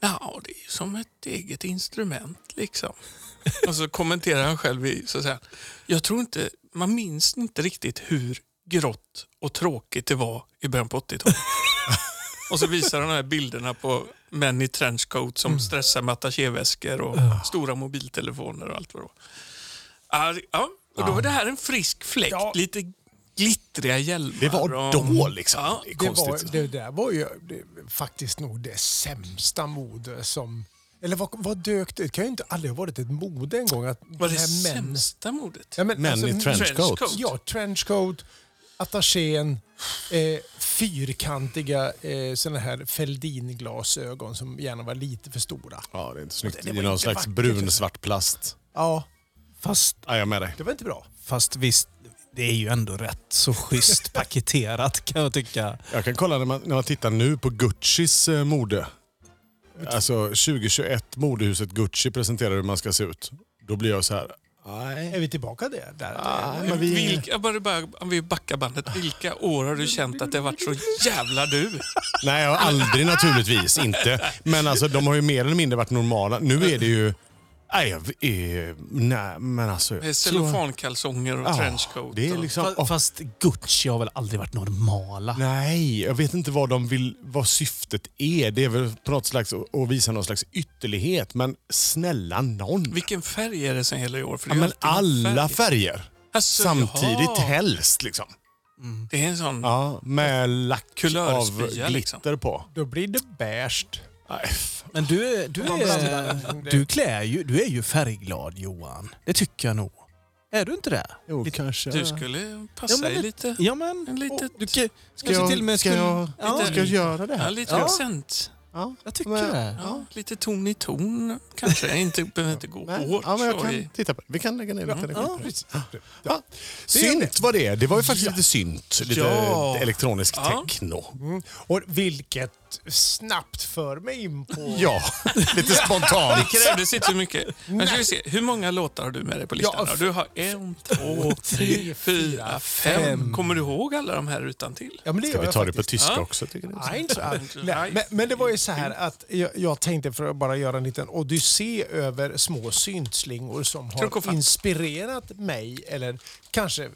Speaker 2: Ja, det är ju som ett eget instrument liksom. Och så kommenterar han själv i, så säger han, jag tror inte, man minns inte riktigt hur grått och tråkigt det var i början på 80-talet. och så visar han de här bilderna på män i trenchcoat
Speaker 3: Mm.
Speaker 2: som stressar med attachéväskor och stora mobiltelefoner och allt vad det var. Ja, det- Ja, och då var det här en frisk fläkt,
Speaker 1: Ja.
Speaker 2: lite glittriga hjälmar.
Speaker 3: Det var
Speaker 2: och-
Speaker 3: då liksom.
Speaker 2: Ja,
Speaker 3: det är
Speaker 1: Det,
Speaker 3: konstigt.
Speaker 1: var, det där var ju det, faktiskt nog det sämsta mode som... Eller vad, vad dök det? Det kan ju inte aldrig ha varit ett mode en gång. Att
Speaker 2: var det
Speaker 1: här män-
Speaker 2: sämsta mordet?
Speaker 1: Ja, men, alltså,
Speaker 3: Män i trenchcoat.
Speaker 2: alltså, trenchcoat.
Speaker 1: Ja, trenchcoat, attachén, eh, fyrkantiga eh, såna här Feldinglasögon som gärna var lite för stora.
Speaker 3: Ja, det är inte snyggt.
Speaker 1: Det
Speaker 3: Det
Speaker 1: var
Speaker 3: är någon
Speaker 1: inte
Speaker 3: slags
Speaker 1: vackert.
Speaker 3: brun-svart plast.
Speaker 1: Ja,
Speaker 4: Fast,
Speaker 3: Ja, jag är med dig.
Speaker 1: det var inte bra.
Speaker 4: fast visst, det är ju ändå rätt så schysst paketerat kan jag tycka.
Speaker 3: Jag kan kolla när man, när man tittar nu på Guccis eh, mode. Alltså 2021, modehuset Gucci presenterar hur man ska se ut. Då blir jag så här...
Speaker 1: Är
Speaker 3: Nej.
Speaker 1: vi tillbaka där? där?
Speaker 3: nej, men vi,
Speaker 2: Vilka, bara, bara, om vi backar bandet, vilka år har du känt att det har varit så jävla du?
Speaker 3: nej, jag har aldrig naturligtvis. Inte. Men alltså, de har ju mer eller mindre varit normala. Nu är det ju... Nej, jag är, nej men alltså...
Speaker 2: Med
Speaker 3: jag tror-
Speaker 2: Cellofankalsonger och
Speaker 3: Ja,
Speaker 2: trenchcoat.
Speaker 3: Det är
Speaker 2: och-
Speaker 3: liksom...
Speaker 4: Fa-
Speaker 3: åh,
Speaker 4: Fast Gucci har väl aldrig varit normala?
Speaker 3: Nej, jag vet inte vad, de vill, vad syftet är. Det är väl på något slags att visa någon slags ytterlighet. Men snälla någon.
Speaker 2: Vilken färg är det som gäller i år? För det
Speaker 3: Ja,
Speaker 2: är
Speaker 3: men
Speaker 2: alltid någon
Speaker 3: alla
Speaker 2: färg.
Speaker 3: färger.
Speaker 2: Alltså,
Speaker 3: Samtidigt
Speaker 2: jaha.
Speaker 3: helst. Liksom.
Speaker 2: Det är en sån...
Speaker 3: Ja, med lack av
Speaker 2: Kulörspya,
Speaker 3: glitter
Speaker 2: liksom.
Speaker 3: på.
Speaker 1: Då blir det beige.
Speaker 3: Nej, fan.
Speaker 4: Men du, är- du,
Speaker 1: Man
Speaker 4: är,
Speaker 1: blandar.
Speaker 4: du, klär ju, du är ju färgglad Johan. Det tycker jag nog. Är du inte det?
Speaker 3: Jo, kanske.
Speaker 2: Du skulle passa
Speaker 4: Ja, men
Speaker 2: dig lite.
Speaker 4: Ja men...
Speaker 2: En litet-
Speaker 4: Du, kan-
Speaker 3: ska
Speaker 4: kanske
Speaker 3: jag,
Speaker 4: till och med
Speaker 3: ska,
Speaker 4: skulle-
Speaker 3: jag,
Speaker 4: Ja.
Speaker 3: ska jag göra det
Speaker 2: Ja,
Speaker 3: här?
Speaker 2: lite
Speaker 4: Ja.
Speaker 2: accent.
Speaker 3: Ja,
Speaker 4: Jag tycker
Speaker 3: Men-
Speaker 4: det.
Speaker 2: Ja, lite ton i ton kanske. Jag inte, behöver inte gå
Speaker 3: Nej,
Speaker 2: hårt.
Speaker 3: ja, men jag
Speaker 2: så i-
Speaker 3: kan titta på det. Vi kan lägga ner lite energi på det.
Speaker 1: Precis.
Speaker 3: Ja. Synt var det. Det var ju faktiskt lite synt. Lite
Speaker 2: Ja.
Speaker 3: elektronisk
Speaker 2: Ja.
Speaker 3: techno.
Speaker 1: Och vilket snabbt för mig in på...
Speaker 3: Ja, lite spontant.
Speaker 2: Det krävdes inte så mycket. Men ska vi se, hur många låtar har du med dig på listan? då? Du har en, två, tre, fyra, fem. Kommer du ihåg alla de här utan till?
Speaker 1: Ja, men det
Speaker 3: Ska
Speaker 1: gör
Speaker 3: vi
Speaker 1: jag
Speaker 3: ta det
Speaker 1: faktiskt.
Speaker 3: på tyska
Speaker 2: Ja.
Speaker 3: också? Tycker du?
Speaker 1: Nej, inte så.
Speaker 2: Nej.
Speaker 1: Nej, men, men det var ju så här att jag, jag tänkte för att bara göra en liten odyssé över små syntslingor som
Speaker 2: Tryck och
Speaker 1: har
Speaker 2: fatt.
Speaker 1: inspirerat mig eller kanske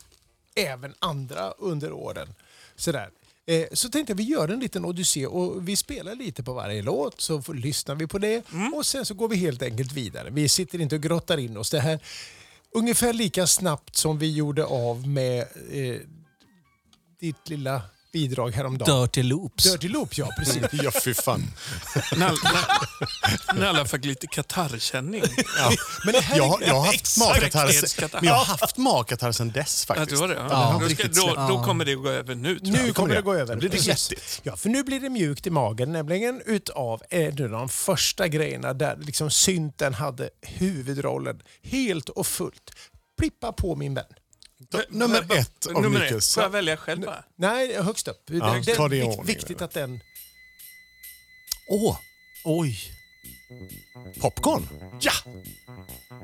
Speaker 1: även andra under åren. Sådär. Eh, Så tänkte jag vi gör en liten odyssé och vi spelar lite på varje låt så får, lyssnar vi på det och sen så går vi helt enkelt vidare. Vi sitter inte och grottar in oss. Det här ungefär lika snabbt som vi gjorde av med eh, ditt lilla bidrag häromdagen.
Speaker 4: Dirty Loops.
Speaker 1: Dirty Loop, ja precis.
Speaker 3: Ja, fy fan.
Speaker 2: När, när, när alla fick lite katarrkänning.
Speaker 3: Ja. Men jag, har- jag har haft
Speaker 2: exakt.
Speaker 3: magkatarr
Speaker 2: Exakt.
Speaker 3: men jag har haft magkatarr sedan dess
Speaker 2: Ja, det
Speaker 3: faktiskt.
Speaker 2: var det.
Speaker 3: den
Speaker 2: Ja.
Speaker 3: har
Speaker 2: Då, ska,
Speaker 3: riktigt släppt.
Speaker 2: då, då kommer det att gå över nu. tror jag.
Speaker 1: Nu kommer det gå över.
Speaker 3: Det blir
Speaker 1: Precis.
Speaker 3: glättigt.
Speaker 1: Ja, för nu blir det mjukt i magen, nämligen utav en av de första grejerna där liksom synten hade huvudrollen helt och fullt. Plippa på min vän.
Speaker 3: Ta- Nummer ett av
Speaker 2: Nummer ett.
Speaker 3: Mikaels.
Speaker 2: Får jag välja själv bara?
Speaker 1: Nej, högst upp.
Speaker 3: Ja,
Speaker 1: det
Speaker 3: ta det i
Speaker 1: är
Speaker 3: ordning,
Speaker 1: vik- viktigt
Speaker 3: eller?
Speaker 1: att den...
Speaker 3: Åh,
Speaker 4: Oj.
Speaker 3: popcorn! Ja!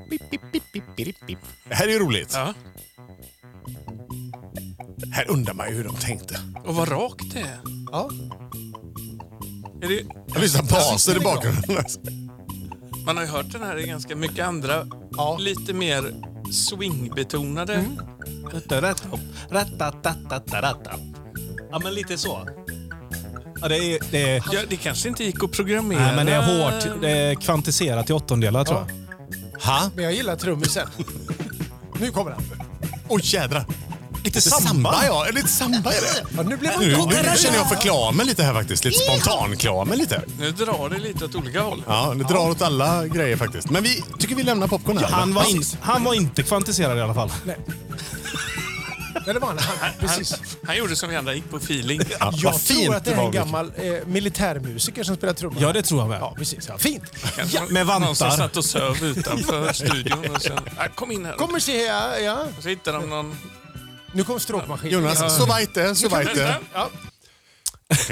Speaker 3: Pip, pip, pip, pip, pip, pip. Det här är ju roligt.
Speaker 2: Ja.
Speaker 3: Här undrar man ju hur de tänkte.
Speaker 2: Och vad rakt det är.
Speaker 1: Ja.
Speaker 2: är det,
Speaker 3: Jag lyssnar på baser i bakgrunden.
Speaker 2: man har ju hört den här i ganska mycket andra,
Speaker 1: Ja.
Speaker 2: lite mer swingbetonade.
Speaker 4: Ja, men lite så. Ja, det är... Det är
Speaker 2: Ja, det kanske inte gick att programmera.
Speaker 4: nej, men det är hårt. Det är kvantiserat i åttondelar, tror jag.
Speaker 3: Ha?
Speaker 1: Men jag gillar trummisen. nu kommer han.
Speaker 3: Åh jädrar!
Speaker 4: Lite
Speaker 3: Samba ja, eller lite samba är det.
Speaker 1: Ja, nu blev han
Speaker 3: Nu,
Speaker 1: glad.
Speaker 3: nu känner jag för klamen lite här faktiskt. Lite spontanklamen lite.
Speaker 2: Nu drar det lite åt olika håll.
Speaker 3: Ja, det drar åt alla grejer faktiskt. Men vi tycker vi lämnar popcorn här.
Speaker 4: Han
Speaker 3: va?
Speaker 4: var, in, han var inte kvantiserad i alla fall.
Speaker 1: Nej, det var han. han precis.
Speaker 2: Han gjorde som vi andra, gick på feeling.
Speaker 3: Ja,
Speaker 1: Jag
Speaker 3: vad fint
Speaker 1: tror att det är
Speaker 3: var,
Speaker 1: en
Speaker 3: Mikael.
Speaker 1: gammal eh, militärmusiker som spelar trummor.
Speaker 4: Ja, det tror jag väl.
Speaker 1: Ja, precis. Ja, fint.
Speaker 2: Kanske
Speaker 4: med
Speaker 2: Någon som
Speaker 4: vantar.
Speaker 2: satt och söv utanför studion. Och sen, ja, kom in här.
Speaker 1: Kommer se här. Ja.
Speaker 2: Och så hittade de någon...
Speaker 1: Nu kom stråkmaskinen.
Speaker 3: Jonas, så vajt det, så vajt det.
Speaker 1: Ja.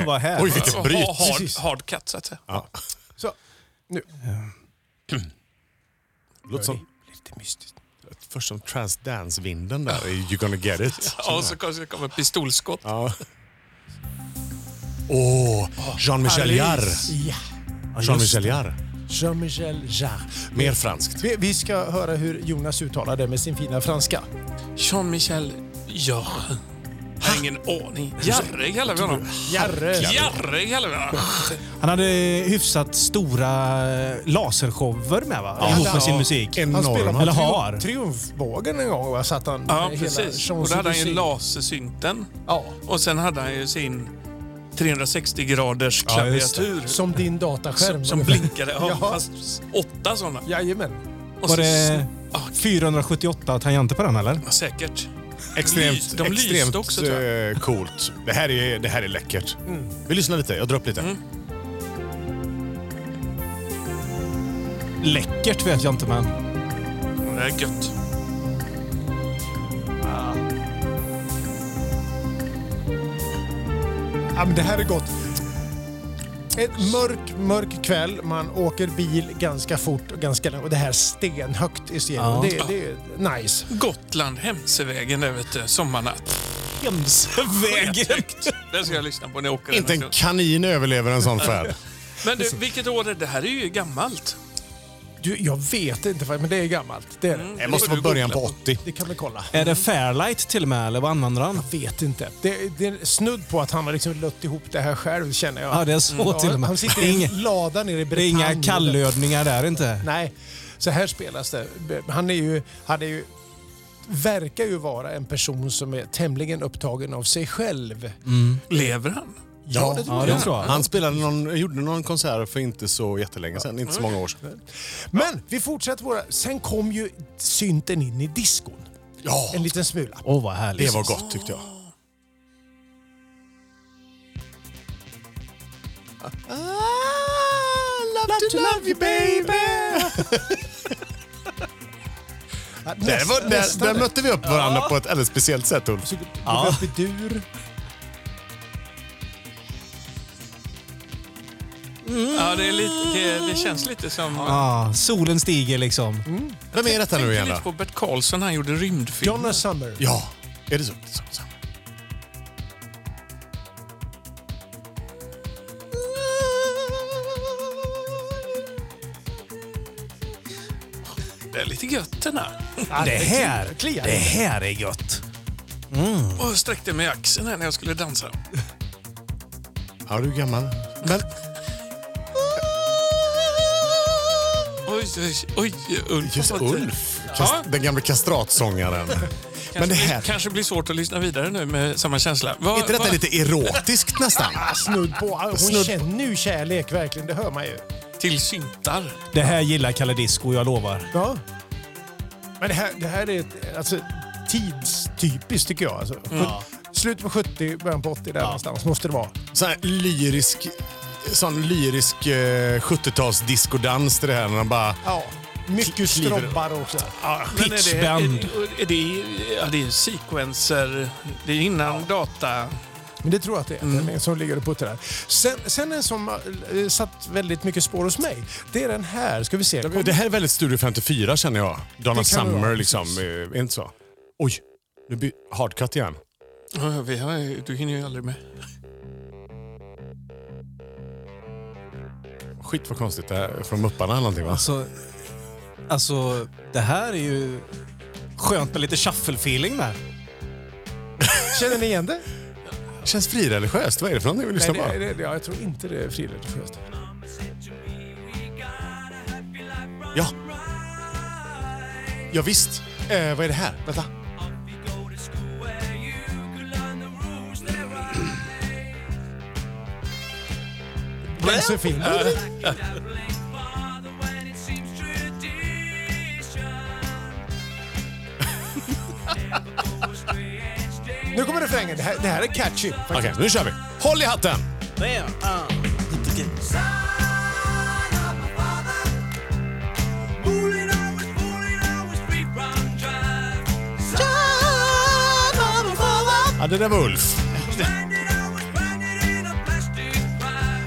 Speaker 4: Vad här.
Speaker 3: Oj, vilket bryt.
Speaker 2: Ha- Hard,
Speaker 1: Precis.
Speaker 2: hard cut, så att säga.
Speaker 3: Ja.
Speaker 1: Så. Nu.
Speaker 3: Låter som,
Speaker 1: Lite mystiskt.
Speaker 3: först som transdance-vinden där. You're gonna get it.
Speaker 2: Ja, och så kanske det kommer pistolskott.
Speaker 3: Ja. Åh, Jean-Michel Jarre.
Speaker 1: Ja.
Speaker 3: Jean-Michel Jarre.
Speaker 1: Jean-Michel Jarre.
Speaker 3: Mer franskt.
Speaker 1: Vi, vi ska höra hur Jonas uttalar det med sin fina franska.
Speaker 2: Jean-Michel Jarre. Jag har ingen aning. Jarre kallar vi honom.
Speaker 1: Jarre.
Speaker 2: Jarre kallar vi honom.
Speaker 4: Han hade hyfsat stora eh, lasershower med, va? Ihop med sin musik.
Speaker 1: Han spelade på
Speaker 4: Eller
Speaker 1: trium-
Speaker 4: har.
Speaker 1: Triumfbågen en gång. va? Satt han
Speaker 2: Ja,
Speaker 1: med
Speaker 2: precis.
Speaker 1: hela
Speaker 2: Och då hade han ju
Speaker 1: Champs-Élysées.
Speaker 2: lasersynten.
Speaker 1: Ja,
Speaker 2: Och sen hade han ju sin 360 graders
Speaker 4: Ja, just det.
Speaker 2: klaviatur.
Speaker 1: som din dataskärm.
Speaker 2: som, som
Speaker 1: ungefär.
Speaker 2: blinkade. Ja,
Speaker 1: Ja.
Speaker 2: Fast åtta sådana.
Speaker 1: Jajamän.
Speaker 2: Och
Speaker 4: Var
Speaker 2: så-
Speaker 4: det
Speaker 2: Ja,
Speaker 4: 478 tangenter på den, eller?
Speaker 2: ja, säkert. Lys-
Speaker 3: Extremt,
Speaker 2: de lyste
Speaker 3: extremt
Speaker 2: också, tror Mm.
Speaker 3: eh, coolt. Det här är, det här är läckert. Vi lyssnar lite. Jag drar upp lite.
Speaker 4: Läckert vet jag inte, men...
Speaker 2: Det är gött.
Speaker 1: Ja, men det här är gott. En mörk, mörk kväll. Man åker bil ganska fort och ganska långt. Och det här stenhögt i serien.
Speaker 4: Ja.
Speaker 1: Det, det är nice.
Speaker 2: Gotland, Hemsevägen där vet du. Sommarnatt.
Speaker 4: Hemsevägen!
Speaker 2: Skithögt. Den ska jag lyssna på när jag åker.
Speaker 3: Inte
Speaker 2: den
Speaker 3: en
Speaker 2: också.
Speaker 3: kanin överlever en sån färd.
Speaker 2: Men du, vilket år är det? Det här är ju gammalt.
Speaker 1: Du, jag vet inte, vad- men det är gammalt. Det, är, det.
Speaker 3: Det måste
Speaker 2: får
Speaker 3: vara
Speaker 2: du
Speaker 3: början på
Speaker 2: googla
Speaker 3: 80.
Speaker 1: det kan vi kolla.
Speaker 4: Är det Fairlight till och med, eller vad använder han?
Speaker 1: Jag vet inte. Det, det är snudd på att han har liksom lött ihop det här själv känner jag.
Speaker 4: Ja, det är så till och med.
Speaker 1: Mm, Han sitter
Speaker 4: Det är
Speaker 1: i
Speaker 4: inga-
Speaker 1: en lada nere i
Speaker 4: Det är
Speaker 1: Bretagne.
Speaker 4: inga kallödningar där inte.
Speaker 1: Nej, så här spelas det. Han är ju... Han är ju verkar ju vara en person som är tämligen upptagen av sig själv.
Speaker 2: Lever han?
Speaker 1: Ja, det tror
Speaker 4: Ja,
Speaker 1: jag.
Speaker 4: det tror jag.
Speaker 3: Han spelade någon, gjorde någon konsert för inte så jättelänge sedan. Inte så
Speaker 2: Mm.
Speaker 3: många år sedan.
Speaker 1: Men vi fortsätter våra... Sen kom ju synten in i diskon.
Speaker 3: Ja,
Speaker 1: En liten smula.
Speaker 4: Åh, vad härligt.
Speaker 3: det var gott tyckte jag.
Speaker 1: Ah, Love to love you baby!
Speaker 3: Där, var, där, där mötte vi upp varandra på ett alldeles speciellt sätt, Ulf.
Speaker 1: Ja. Upp i dur.
Speaker 2: Ja, det, är lite, det, det känns lite som...
Speaker 4: Ja, solen stiger liksom.
Speaker 3: Vem är detta nu
Speaker 2: Tänker
Speaker 3: igen
Speaker 2: lite på
Speaker 3: då?
Speaker 2: Bert Karlsson, han gjorde rymdfilm.
Speaker 1: Donna Summer.
Speaker 3: Ja, är det så? så, så.
Speaker 2: Det är lite gött den här.
Speaker 4: Det här,
Speaker 1: kliar.
Speaker 4: det här är gött.
Speaker 2: Och sträckte mig i axeln här när jag skulle dansa.
Speaker 3: Ja, du är gammal. Men,
Speaker 2: Oj, oj, oj. Ulf
Speaker 3: just
Speaker 2: har fått-
Speaker 3: Ulf,
Speaker 2: Ja.
Speaker 3: kast, den gamla kastratsångaren. Men det här,
Speaker 2: Kanske blir svårt att lyssna vidare nu med samma känsla. Vad-
Speaker 3: är inte detta
Speaker 2: vad-
Speaker 3: lite erotiskt nästan?
Speaker 1: Snudd på. Hon
Speaker 3: Snudd-
Speaker 1: känner ju kärlek verkligen, det hör man ju.
Speaker 2: Till syntar.
Speaker 4: Det här gillar Kalle Disco, jag lovar.
Speaker 1: Ja. Men det här, det här är ett, alltså, tidstypiskt tycker jag. Alltså. Sjut- Slutet på 70, början på 80 där någonstans måste det vara.
Speaker 3: Sån här lyrisk, sån lyrisk eh, 70-tals discodans till det här när de bara...
Speaker 1: Ja. Mycket
Speaker 3: Kliver-
Speaker 1: strobbar också.
Speaker 2: Men är det-
Speaker 4: Pitchband.
Speaker 2: Är det, är det, ja, det är sequencer. Det är innan data.
Speaker 1: Men det tror jag att det är. Den är som ligger och puttrar. Sen, sen en som eh, satt väldigt mycket spår hos mig. Det är den här. Ska vi se. Kom.
Speaker 3: Det här är väldigt Studio 54 känner jag. Donna
Speaker 1: Det kan det vara,
Speaker 3: Summer liksom. eh, Är inte så? Oj, nu blir hardcut igen.
Speaker 2: Ja, vi har ju- Du hinner ju aldrig med.
Speaker 3: Skit vad konstigt det här är från Mupparna eller någonting va?
Speaker 4: Alltså, alltså, det här är ju skönt med lite shuffle-feeling där.
Speaker 1: Känner ni igen det?
Speaker 3: Känns frireligiöst. Vad är det för någonting vi lyssnar
Speaker 1: Nej,
Speaker 3: på?
Speaker 1: det, det, ja, jag tror inte det är friidrott förresten.
Speaker 3: Ja. Ja, visst. Eh, vad är det här? Vänta.
Speaker 1: Josefin.
Speaker 3: Eh,
Speaker 1: Nu kommer refrängen. Det här, det här är catchy.
Speaker 3: Okej, nu kör vi. Håll i hatten! Ja, det där var Ulf.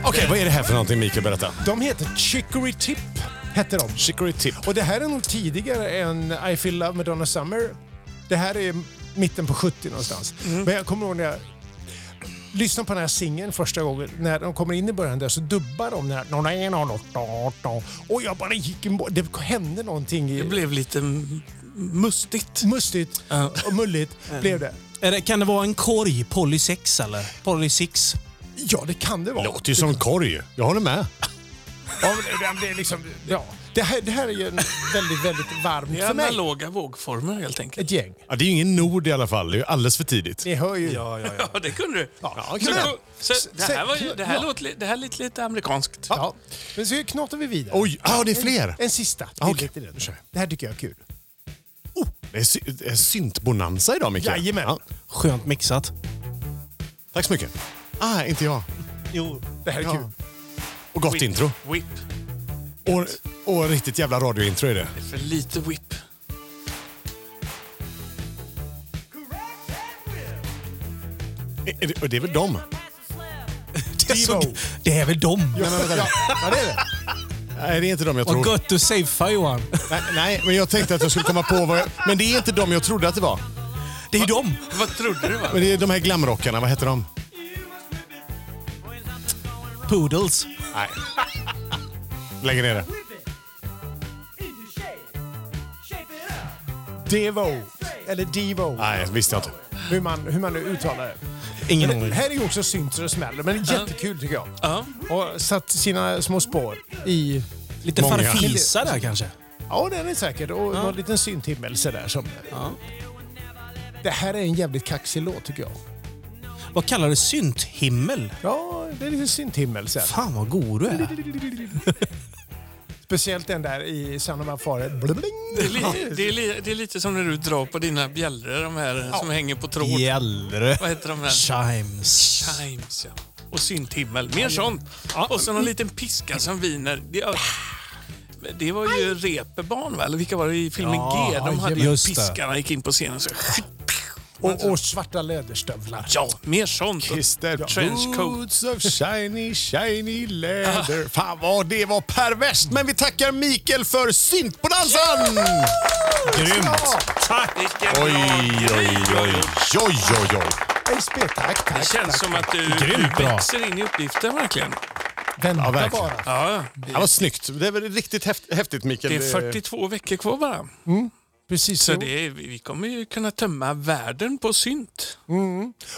Speaker 3: Okej, vad är det här för någonting Mikael? Berätta.
Speaker 1: De heter Chicory Tip. Hette de.
Speaker 3: Chicory Tip.
Speaker 1: Och det här är nog tidigare än I feel love med Donna Summer. Det här är mitten på 70 någonstans. Men jag kommer ihåg när jag lyssnade på den här singeln första gången. När de kommer in i början där så dubbar de den här. "Nona ena och nota åtta." Och jag bara gick emot. Det hände någonting. I,
Speaker 2: Det blev lite m- mustigt.
Speaker 1: mustigt
Speaker 2: Ja.
Speaker 1: och mulligt blev det.
Speaker 4: Är det, kan det vara en korg? Poly 6 eller? Poly 6?
Speaker 1: Ja, det kan det vara.
Speaker 3: Låter ju som korg. Jag håller med.
Speaker 1: Ja, men det- det, är liksom, ja. det, här, det här är ju en väldigt, väldigt varmt
Speaker 2: Det är
Speaker 1: för mig.
Speaker 2: analoga vågformer helt enkelt.
Speaker 1: Ett gäng.
Speaker 3: Ja, det är ju ingen nod i alla fall. Det är ju alldeles för tidigt.
Speaker 1: Ni hör ju.
Speaker 4: Ja, ja, ja.
Speaker 2: Ja, det kunde du.
Speaker 1: Ja,
Speaker 2: Så-
Speaker 1: kul.
Speaker 2: så, det här, var ju, det här,
Speaker 1: Ja.
Speaker 2: låter, li- det här är lite, lite amerikanskt.
Speaker 1: Ja. Men så knatar vi vidare.
Speaker 3: Oj, ah, det är fler.
Speaker 1: En sista. till
Speaker 3: Ah, okej.
Speaker 1: lite redan. Det här tycker jag är kul.
Speaker 3: Oh, det är sy- det är syntbonanza idag, Mikael.
Speaker 1: Jajamän.
Speaker 4: Skönt mixat.
Speaker 3: tack så mycket. Ah, inte jag.
Speaker 4: Jo.
Speaker 1: Det här är
Speaker 3: Ja.
Speaker 1: kul.
Speaker 3: Och gott
Speaker 2: Whip.
Speaker 3: intro.
Speaker 2: Whip.
Speaker 3: Och, och riktigt jävla radiointro är det.
Speaker 2: För lite whip.
Speaker 3: Är det. Och det är väl dem?
Speaker 4: Det är, så, det är väl dem?
Speaker 3: Nej, men vänta. nu.
Speaker 1: Ja, det är det.
Speaker 3: Nej, det är inte dem jag
Speaker 4: Vad
Speaker 3: tror.
Speaker 4: gött du safear Johan.
Speaker 3: Nej, nej, men jag tänkte att jag skulle komma på vad jag... Men det är inte dem jag trodde att det var.
Speaker 4: Det är dem.
Speaker 2: Vad trodde du? Va?
Speaker 3: Men det är de här glamrockarna. Vad heter de?
Speaker 4: Poodles.
Speaker 3: Nej. Lägger ner det.
Speaker 1: Devo. Eller Devo.
Speaker 3: Nej, visste jag inte.
Speaker 1: Hur man, hur man nu uttalar det.
Speaker 4: Ingen
Speaker 1: Men det
Speaker 4: aning.
Speaker 1: här är ju också synt så det smäller, men det är jättekul tycker jag.
Speaker 2: Ja.
Speaker 1: Och satt sina små spår i...
Speaker 4: Lite
Speaker 3: Många.
Speaker 4: farfisa där kanske.
Speaker 1: Ja, den är säkert. Och någon liten synthimmel sådär som... Det här är en jävligt kaxig låt tycker jag.
Speaker 4: Vad kallar du synthimmel?
Speaker 1: Ja, det är lite synthimmel så här.
Speaker 4: Fan vad god du är.
Speaker 1: Speciellt den där i Sanna Mafare.
Speaker 2: Det, är li, det, är li, det är lite som när du drar på dina bjällror, de här som hänger på tråd.
Speaker 4: Gällre.
Speaker 2: Vad heter de här?
Speaker 4: Chimes.
Speaker 2: Times, ja. Och synthimmel. Mer sånt. Och så någon liten piska som viner. Det, ja, det var ju repebarn, va? Eller vilka var det i filmen G? De hade ju
Speaker 4: just det.
Speaker 2: piskarna gick in på scenen. Så,
Speaker 1: Och, och svarta läderstövlar.
Speaker 2: ja, mer sånt.
Speaker 3: Kiss the
Speaker 2: Trenchcoat.
Speaker 3: boots of shiny, shiny leather. Fan vad det var perverst! Men vi tackar Mikael för syntbonanzan! Grymt!
Speaker 2: Vilken
Speaker 3: Oj,
Speaker 2: bra
Speaker 3: oj,
Speaker 2: grej.
Speaker 3: oj, oj, oj, oj.
Speaker 1: Ej, spe- Tack, tack.
Speaker 2: Det känns som att du,
Speaker 4: Grymt
Speaker 2: du
Speaker 4: bra.
Speaker 2: växer in i uppgiften verkligen.
Speaker 1: Vänta
Speaker 3: verkligen.
Speaker 1: bara.
Speaker 2: Ja,
Speaker 3: Det var snyggt. Det var riktigt häft- häftigt Mikael.
Speaker 2: det är 42 veckor kvar bara.
Speaker 1: Precis
Speaker 2: Så
Speaker 1: jo.
Speaker 2: det är, vi kommer ju kunna tömma världen på synt.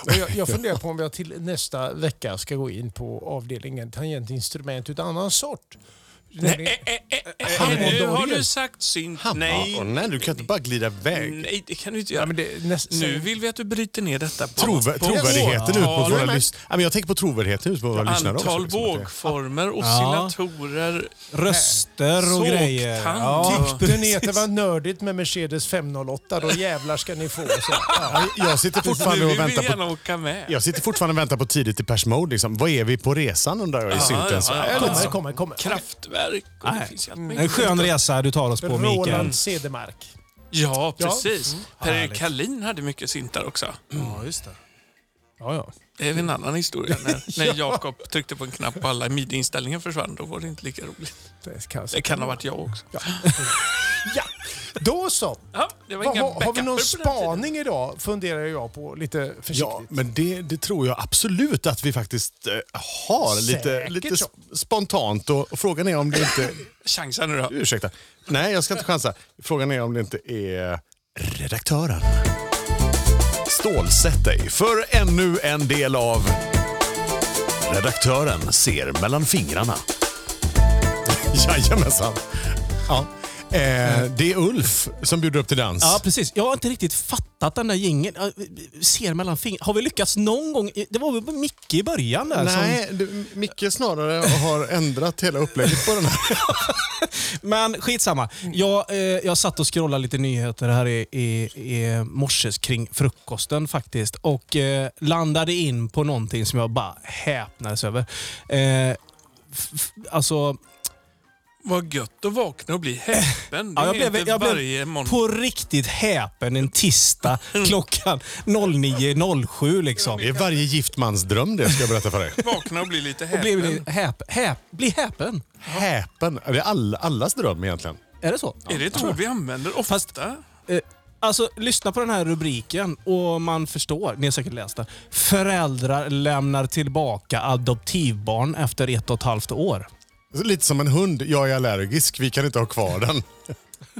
Speaker 1: Och jag, jag funderar på om jag till nästa vecka ska gå in på avdelningen tangentinstrument utav annan sort. Nämligen-
Speaker 2: Nej, eh, eh, eh,
Speaker 1: Hammond
Speaker 2: nu har
Speaker 1: orgel.
Speaker 2: du sagt synt.
Speaker 3: Nej.
Speaker 2: Nej, Mm.
Speaker 3: nej, du kan inte bara glida iväg.
Speaker 2: nej, det kan du inte
Speaker 1: Ja,
Speaker 2: göra.
Speaker 1: men det, näst,
Speaker 2: Nu vill vi att du bryter ner detta på,
Speaker 3: Trov-
Speaker 2: på
Speaker 3: trovärdigheten ut
Speaker 2: årtal,
Speaker 3: mot våra
Speaker 1: men-
Speaker 3: lyssnare. Ja, men jag tänker på trovärdigheten ut mot våra lyssnare också.
Speaker 2: antal
Speaker 3: liksom, att det-
Speaker 2: vågformer, oscillatorer.
Speaker 4: Röster och
Speaker 2: Sågtand.
Speaker 4: grejer.
Speaker 2: Tyckte
Speaker 1: Den heter var nördigt med Mercedes 508. Då jävlar ska ni få. Så, ja.
Speaker 3: Jag sitter
Speaker 2: Nu
Speaker 3: fortfarande och
Speaker 2: vill vi
Speaker 3: väntar på
Speaker 2: gärna åka med.
Speaker 3: jag sitter fortfarande och väntar på tidigt i Pers Mode. Liksom. Vad är vi på resan undrar jag i synten? Så-
Speaker 2: ja, ja.
Speaker 1: Kommer, kommer, kommer.
Speaker 2: Kraftverk och det
Speaker 4: Nej.
Speaker 2: finns ju allt möjligt.
Speaker 4: En skön resa du tar oss på, Mikael.
Speaker 1: Roland Cedermark.
Speaker 2: Ja, precis. Per
Speaker 4: Härligt.
Speaker 2: Kalin hade mycket syntar också.
Speaker 4: Ja, just det.
Speaker 1: Ja, ja.
Speaker 2: Det är en annan historia. När, när Jakob tryckte på en knapp och alla midi-inställningar försvann, då var det inte lika roligt.
Speaker 1: Det kan,
Speaker 2: Det kan ha varit jag också.
Speaker 1: ja. Då så.
Speaker 2: Ja, det var
Speaker 1: Vad
Speaker 2: inga
Speaker 1: har, har vi någon
Speaker 2: backuper på den tiden.
Speaker 1: spaning idag? Funderar jag på lite
Speaker 3: Ja,
Speaker 1: försiktigt.
Speaker 3: men det, det tror jag absolut att vi faktiskt eh, har. Lite,
Speaker 1: Säkert
Speaker 3: lite
Speaker 1: så.
Speaker 3: sp- spontant. Och, och frågan är om det inte...
Speaker 2: Chansa nu då.
Speaker 3: Ursäkta. Nej, jag ska inte chansa. Frågan är om det inte är redaktören. Stålsätt dig för ännu en del av Redaktören ser mellan fingrarna. Jajamensan. Ja. Eh, det är Ulf som bjuder upp till dans.
Speaker 4: Ja, precis. Jag har inte riktigt fattat den där gingen. Ser mellan fingrarna. Har vi lyckats någon gång? Det var väl Micke i början där som...
Speaker 3: Nej, du, Micke snarare har ändrat hela upplägget på den här.
Speaker 4: Men skitsamma. Jag, eh, jag satt och scrollade lite nyheter här i, i, i morses kring frukosten faktiskt. Och eh, landade in på någonting som jag bara häpnades över. Eh, f- f- alltså...
Speaker 2: Vad gött att vakna och bli häpen. Det
Speaker 4: Ja, jag
Speaker 2: är
Speaker 4: blev,
Speaker 2: inte
Speaker 4: jag
Speaker 2: varje
Speaker 4: blev
Speaker 2: morgon.
Speaker 4: på riktigt häpen en tisdag klockan 09.07 liksom.
Speaker 3: Det är varje gift mans dröm det, ska jag berätta för dig.
Speaker 2: Vakna och bli lite
Speaker 4: Och
Speaker 2: häpen.
Speaker 4: blev ni häp, häp, bli häpen.
Speaker 3: Häpen. Det är all, allas dröm egentligen.
Speaker 4: Är det så?
Speaker 2: Är det ett ord vi använder ofta?
Speaker 4: Fast- Eh, Alltså, lyssna på den här rubriken och man förstår. Ni har säkert läst den. Föräldrar lämnar tillbaka adoptivbarn efter ett och ett halvt år.
Speaker 3: Lite som en hund. Jag är allergisk, vi kan inte ha kvar den.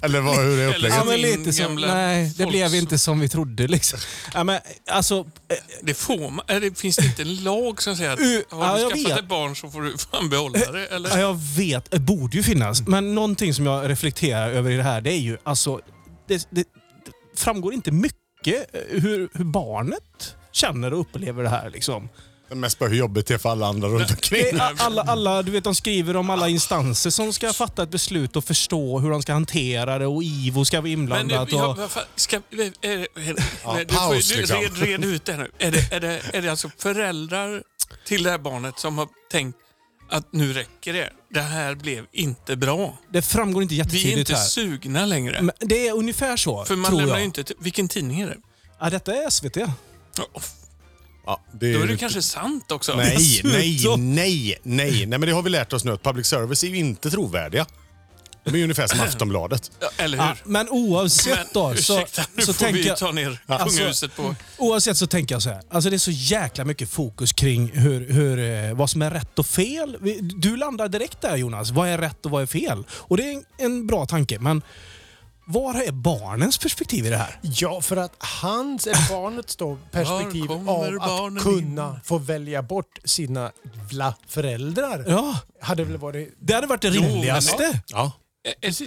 Speaker 3: Eller vad, hur är
Speaker 4: Ja,
Speaker 3: upplägget?
Speaker 4: men
Speaker 2: min
Speaker 4: lite som,
Speaker 2: gamla
Speaker 4: nej, det
Speaker 2: folks-
Speaker 4: blev inte som vi trodde. Liksom. Ja, men, alltså, eh,
Speaker 2: Det får man. Är det, finns det inte en lag som säger att
Speaker 4: Uh, ja,
Speaker 2: har du
Speaker 4: jag vet.
Speaker 2: skaffat ett barn så får du fan behålla det? Eller?
Speaker 4: Ja, jag vet. Det borde ju finnas. Men någonting som jag reflekterar över i det här, det är ju alltså... Det, det, det framgår inte mycket eh, hur, hur barnet känner och upplever det här. Liksom.
Speaker 3: Mest bara hur jobbigt det är för alla andra runt omkring.
Speaker 4: Det är a- alla, alla, du vet, de skriver om alla instanser som ska fatta ett beslut och förstå hur de ska hantera det och IVO ska vara
Speaker 2: Men nu,
Speaker 4: inblandat.
Speaker 2: jag,
Speaker 4: Och,
Speaker 2: vad fan, ska, är, är, är,
Speaker 3: Ja,
Speaker 2: du får
Speaker 3: paus,
Speaker 2: ju- du
Speaker 3: liksom.
Speaker 2: red, red ut det här nu. Är det, är, det, är det alltså föräldrar till det här barnet som har tänkt att nu räcker det. Det här blev inte bra.
Speaker 4: det framgår inte
Speaker 2: Vi är
Speaker 4: jättetydligt
Speaker 2: inte
Speaker 4: här.
Speaker 2: sugna längre.
Speaker 4: Men det är ungefär så,
Speaker 2: För man
Speaker 4: tror
Speaker 2: lämnar
Speaker 4: jag.
Speaker 2: ju inte... till- Vilken tidning är det?
Speaker 4: Ja, detta är SVT.
Speaker 2: Ja,
Speaker 3: Ja, det
Speaker 2: Då är det
Speaker 3: lite-
Speaker 2: kanske sant också.
Speaker 3: Nej, nej,
Speaker 4: Dessutom.
Speaker 3: nej, nej. Nej, men det har vi lärt oss nu att public service är ju inte trovärdiga. De är ju ungefär som Aftonbladet.
Speaker 2: Ja, Eller hur?
Speaker 4: Ja, men oavsett
Speaker 2: Men,
Speaker 4: då så,
Speaker 2: ursäkta, nu
Speaker 4: så
Speaker 2: får vi
Speaker 4: tänker
Speaker 2: ju
Speaker 4: jag...
Speaker 2: ta ner
Speaker 4: Alltså-
Speaker 2: kungahuset på...
Speaker 4: Oavsett så tänker jag så här. Alltså det är så jäkla mycket fokus kring hur, hur, eh, vad som är rätt och fel. Vi- Du landar direkt där Jonas. Vad är rätt och vad är fel? Och det är en, en bra tanke. Men var är barnens perspektiv i det här?
Speaker 1: Ja, för att hans, eller barnets då, perspektiv
Speaker 2: Var kommer
Speaker 1: av att
Speaker 2: barnen
Speaker 1: kunna få välja bort sina vla föräldrar
Speaker 4: Ja,
Speaker 1: hade väl varit...
Speaker 4: det hade varit det
Speaker 2: Jo, men-
Speaker 4: rimligaste.
Speaker 3: Ja.
Speaker 2: Ett-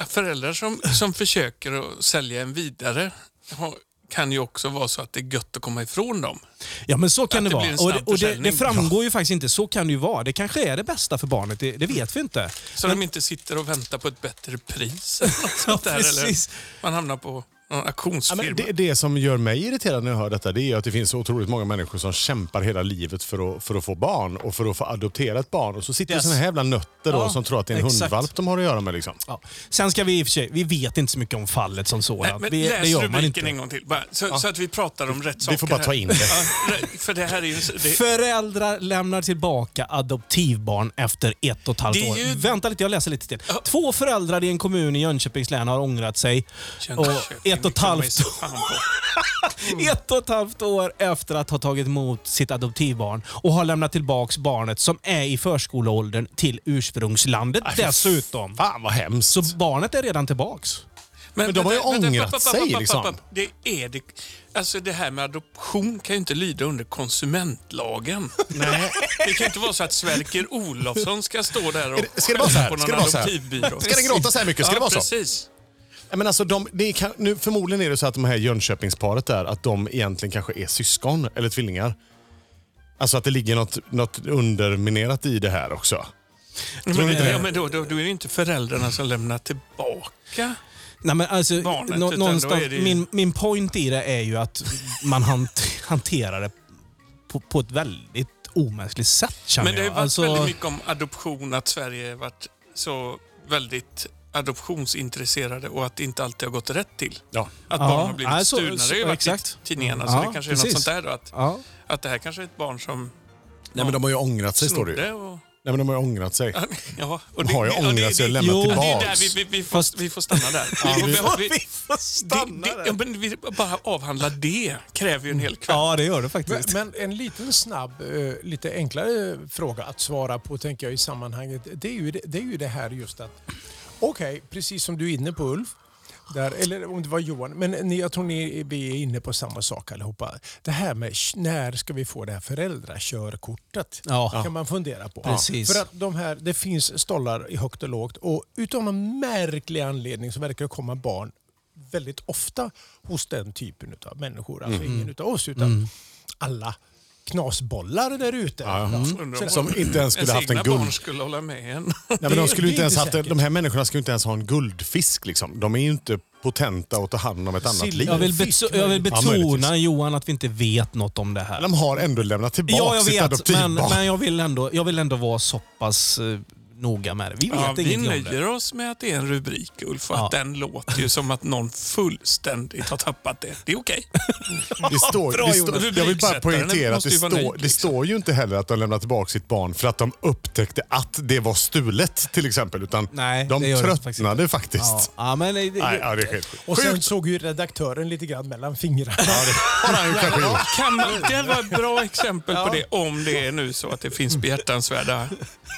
Speaker 2: eh, Föräldrar som, som försöker att sälja en vidare har, kan ju också vara så att det är gött att komma ifrån dem.
Speaker 4: Ja, men så kan
Speaker 2: Att
Speaker 4: det,
Speaker 2: det
Speaker 4: vara.
Speaker 2: blir en
Speaker 4: Och, det,
Speaker 2: snabb
Speaker 4: och det, det
Speaker 2: försäljning.
Speaker 4: framgår ju faktiskt inte. Så kan det ju vara. Det kanske är det bästa för barnet. Det, det vet vi inte.
Speaker 2: Så de inte sitter och väntar på ett bättre pris eller något sånt där. Eller
Speaker 4: precis.
Speaker 2: man hamnar på någon
Speaker 3: Ja,
Speaker 2: auktionsfirma.
Speaker 3: men det, det som gör mig irriterad när jag hör detta det är ju att det finns så otroligt många människor som kämpar hela livet för att, för att få barn och för att få adoptera ett barn. Och så sitter det
Speaker 4: Yes.
Speaker 3: såna här jävla nötter då,
Speaker 4: Ja,
Speaker 3: som tror att det är en
Speaker 4: exakt.
Speaker 3: hundvalp de har att göra med. Liksom.
Speaker 4: Ja. Sen ska vi i och för sig, vi vet inte så mycket om fallet som
Speaker 2: Nej,
Speaker 4: sådant.
Speaker 2: men
Speaker 4: vi,
Speaker 2: läs
Speaker 4: det gör man
Speaker 2: rubriken
Speaker 4: inte.
Speaker 2: en gång till. Bara, så, så att vi pratar om rätt saker.
Speaker 3: Vi får bara
Speaker 2: här.
Speaker 3: ta in det.
Speaker 2: Ja, re- för det här är ju... Det,
Speaker 4: Föräldrar lämnar tillbaka adoptivbarn efter ett och ett halvt
Speaker 2: Det är
Speaker 4: år.
Speaker 2: ju-
Speaker 4: Vänta lite, jag läser lite till. Två föräldrar i en kommun i Jönköpings län har ångrat sig. Och
Speaker 2: Jönköping.
Speaker 4: ett ett och ett halvt år.
Speaker 2: Fan på. Mm.
Speaker 4: Ett och ett halvt år efter att ha tagit emot sitt adoptivbarn och har lämnat tillbaks barnet som är i förskoleåldern till ursprungslandet dessutom.
Speaker 3: Fan vad hemskt.
Speaker 4: Så barnet är redan tillbaks.
Speaker 3: Men de har ju
Speaker 2: vänta, vänta,
Speaker 3: ångrat
Speaker 2: papp, papp,
Speaker 3: sig,
Speaker 2: papp, papp,
Speaker 3: liksom.
Speaker 2: papp. Det är det. Alltså det här med adoption kan ju inte lyda under konsumentlagen. Nej. Det kan inte vara så att Sverker Olofsson ska stå där och
Speaker 3: Är det- ska det vara så här?
Speaker 2: på någon
Speaker 3: Ska det vara så här?
Speaker 2: adoptivbyrå.
Speaker 3: Ska den gråta så här mycket?
Speaker 2: ja,
Speaker 3: Ska det vara så?
Speaker 2: precis.
Speaker 3: Ja, Men alltså de, det kan, nu, förmodligen är det så att de här Jönköpingsparet där, att de egentligen kanske är syskon eller tvillingar. Alltså att det ligger något, något underminerat i det här också.
Speaker 2: Men, det, ja, men då, då, då är det inte föräldrarna som lämnar tillbaka.
Speaker 4: Nej, men alltså,
Speaker 2: Barnet,
Speaker 4: nå-
Speaker 2: utan då
Speaker 4: någonstans,
Speaker 2: är det ju-
Speaker 4: min, min point i det är ju att man hant- hanterar det på, på ett väldigt omänskligt sätt känner
Speaker 2: Men det har ju
Speaker 4: jag. Alltså,
Speaker 2: varit
Speaker 3: alltså-
Speaker 2: väldigt mycket om adoption, att Sverige har varit så väldigt adoptionsintresserade och att det inte alltid har gått rätt till.
Speaker 3: Ja.
Speaker 2: Att
Speaker 4: Ja,
Speaker 2: barn har blivit
Speaker 4: nej, så-
Speaker 2: stulna. Det har ju
Speaker 4: så-
Speaker 2: varit
Speaker 4: exakt.
Speaker 2: i tidningarna,
Speaker 4: Ja,
Speaker 2: så det kanske är
Speaker 4: precis.
Speaker 2: något sånt där då. Att,
Speaker 4: ja.
Speaker 2: att det här kanske är ett barn som
Speaker 3: Nej men de har ju ångrat sig står det ju.
Speaker 2: snodde och...
Speaker 3: Nej men de har ju ångrat sig.
Speaker 2: Ja, och
Speaker 3: De har ju
Speaker 2: och
Speaker 3: ångrat sig och
Speaker 2: det-
Speaker 3: lämnat
Speaker 4: Jo.
Speaker 2: Det är där
Speaker 3: tillbaks.
Speaker 2: vi, vi, vi, får,
Speaker 4: Fast-
Speaker 2: vi får stanna där. Vi, vi, vi, det, det, ja, men vi bara avhandla det kräver ju en hel kväll.
Speaker 4: ja, det gör det
Speaker 1: Men,
Speaker 4: faktiskt.
Speaker 1: men en liten snabb, eh, lite enklare fråga att svara på tänker jag i sammanhanget. Det är ju det, det, är ju det här just att, okej, precis som du är inne på Ulf, där, eller om det var Johan, men ni, jag tror ni vi är inne på samma sak allihopa. Det här med sh- när ska vi få det här föräldrakörkortet?
Speaker 4: Ja.
Speaker 1: kan man fundera på.
Speaker 4: Precis.
Speaker 1: För att de här, det finns stollar i högt och lågt och utan någon märklig anledning så verkar det komma barn väldigt ofta hos den typen av människor. Alltså ingen utav oss utan alla knasbollar där ute.
Speaker 2: Undrar om
Speaker 3: Som inte ens
Speaker 2: ens
Speaker 3: skulle haft
Speaker 2: egna
Speaker 3: en guld...
Speaker 2: barn skulle hålla med en.
Speaker 3: Nej, men de,
Speaker 1: Det-
Speaker 3: skulle ju
Speaker 1: det är
Speaker 3: inte ens
Speaker 1: inte
Speaker 3: haft, en-
Speaker 1: säkert.
Speaker 3: de här människorna skulle inte ens ha en guldfisk. Liksom. De är ju inte potenta att ta hand om ett annat
Speaker 1: Sill-
Speaker 3: liv.
Speaker 4: Jag vill,
Speaker 1: Fisk
Speaker 4: beto- jag vill
Speaker 3: möjligtvis. Ja,
Speaker 4: betona,
Speaker 3: möjligtvis.
Speaker 4: Johan, att vi inte vet något om det här.
Speaker 3: De har ändå lämnat tillbaka
Speaker 4: Ja, jag
Speaker 3: sitt
Speaker 4: vet, men,
Speaker 3: adoptivbarn.
Speaker 4: men jag, vill ändå, jag vill ändå vara så pass eh, noga med det. Vi vet
Speaker 2: Ja, vi
Speaker 4: ingenting om det.
Speaker 2: nöjer oss med att det är en rubrik, Ulf, och att
Speaker 4: Ja.
Speaker 2: den låter ju som att någon fullständigt har tappat det. Det är okej.
Speaker 3: Det står,
Speaker 2: Bra,
Speaker 3: det
Speaker 2: Jonas.
Speaker 3: står, jag vill bara
Speaker 2: Rubriksättaren
Speaker 3: poängtera att
Speaker 2: måste
Speaker 3: det,
Speaker 2: ju vara
Speaker 3: står,
Speaker 2: nöjd,
Speaker 3: det
Speaker 2: liksom.
Speaker 3: står ju inte heller att de lämnade tillbaka sitt barn för att de upptäckte att det var stulet till exempel. Utan
Speaker 4: Nej,
Speaker 3: de
Speaker 4: det gör det faktiskt
Speaker 3: tröttnade faktiskt.
Speaker 4: Ja, ja, men det, det,
Speaker 3: Nej, ja, det är helt sjukt.
Speaker 1: Och sen såg ju redaktören lite grann mellan fingrarna.
Speaker 3: Har han ju kanske gjort.
Speaker 2: Kan man, det var ett bra exempel på det. Om det är nu så att det finns behjärtansvärda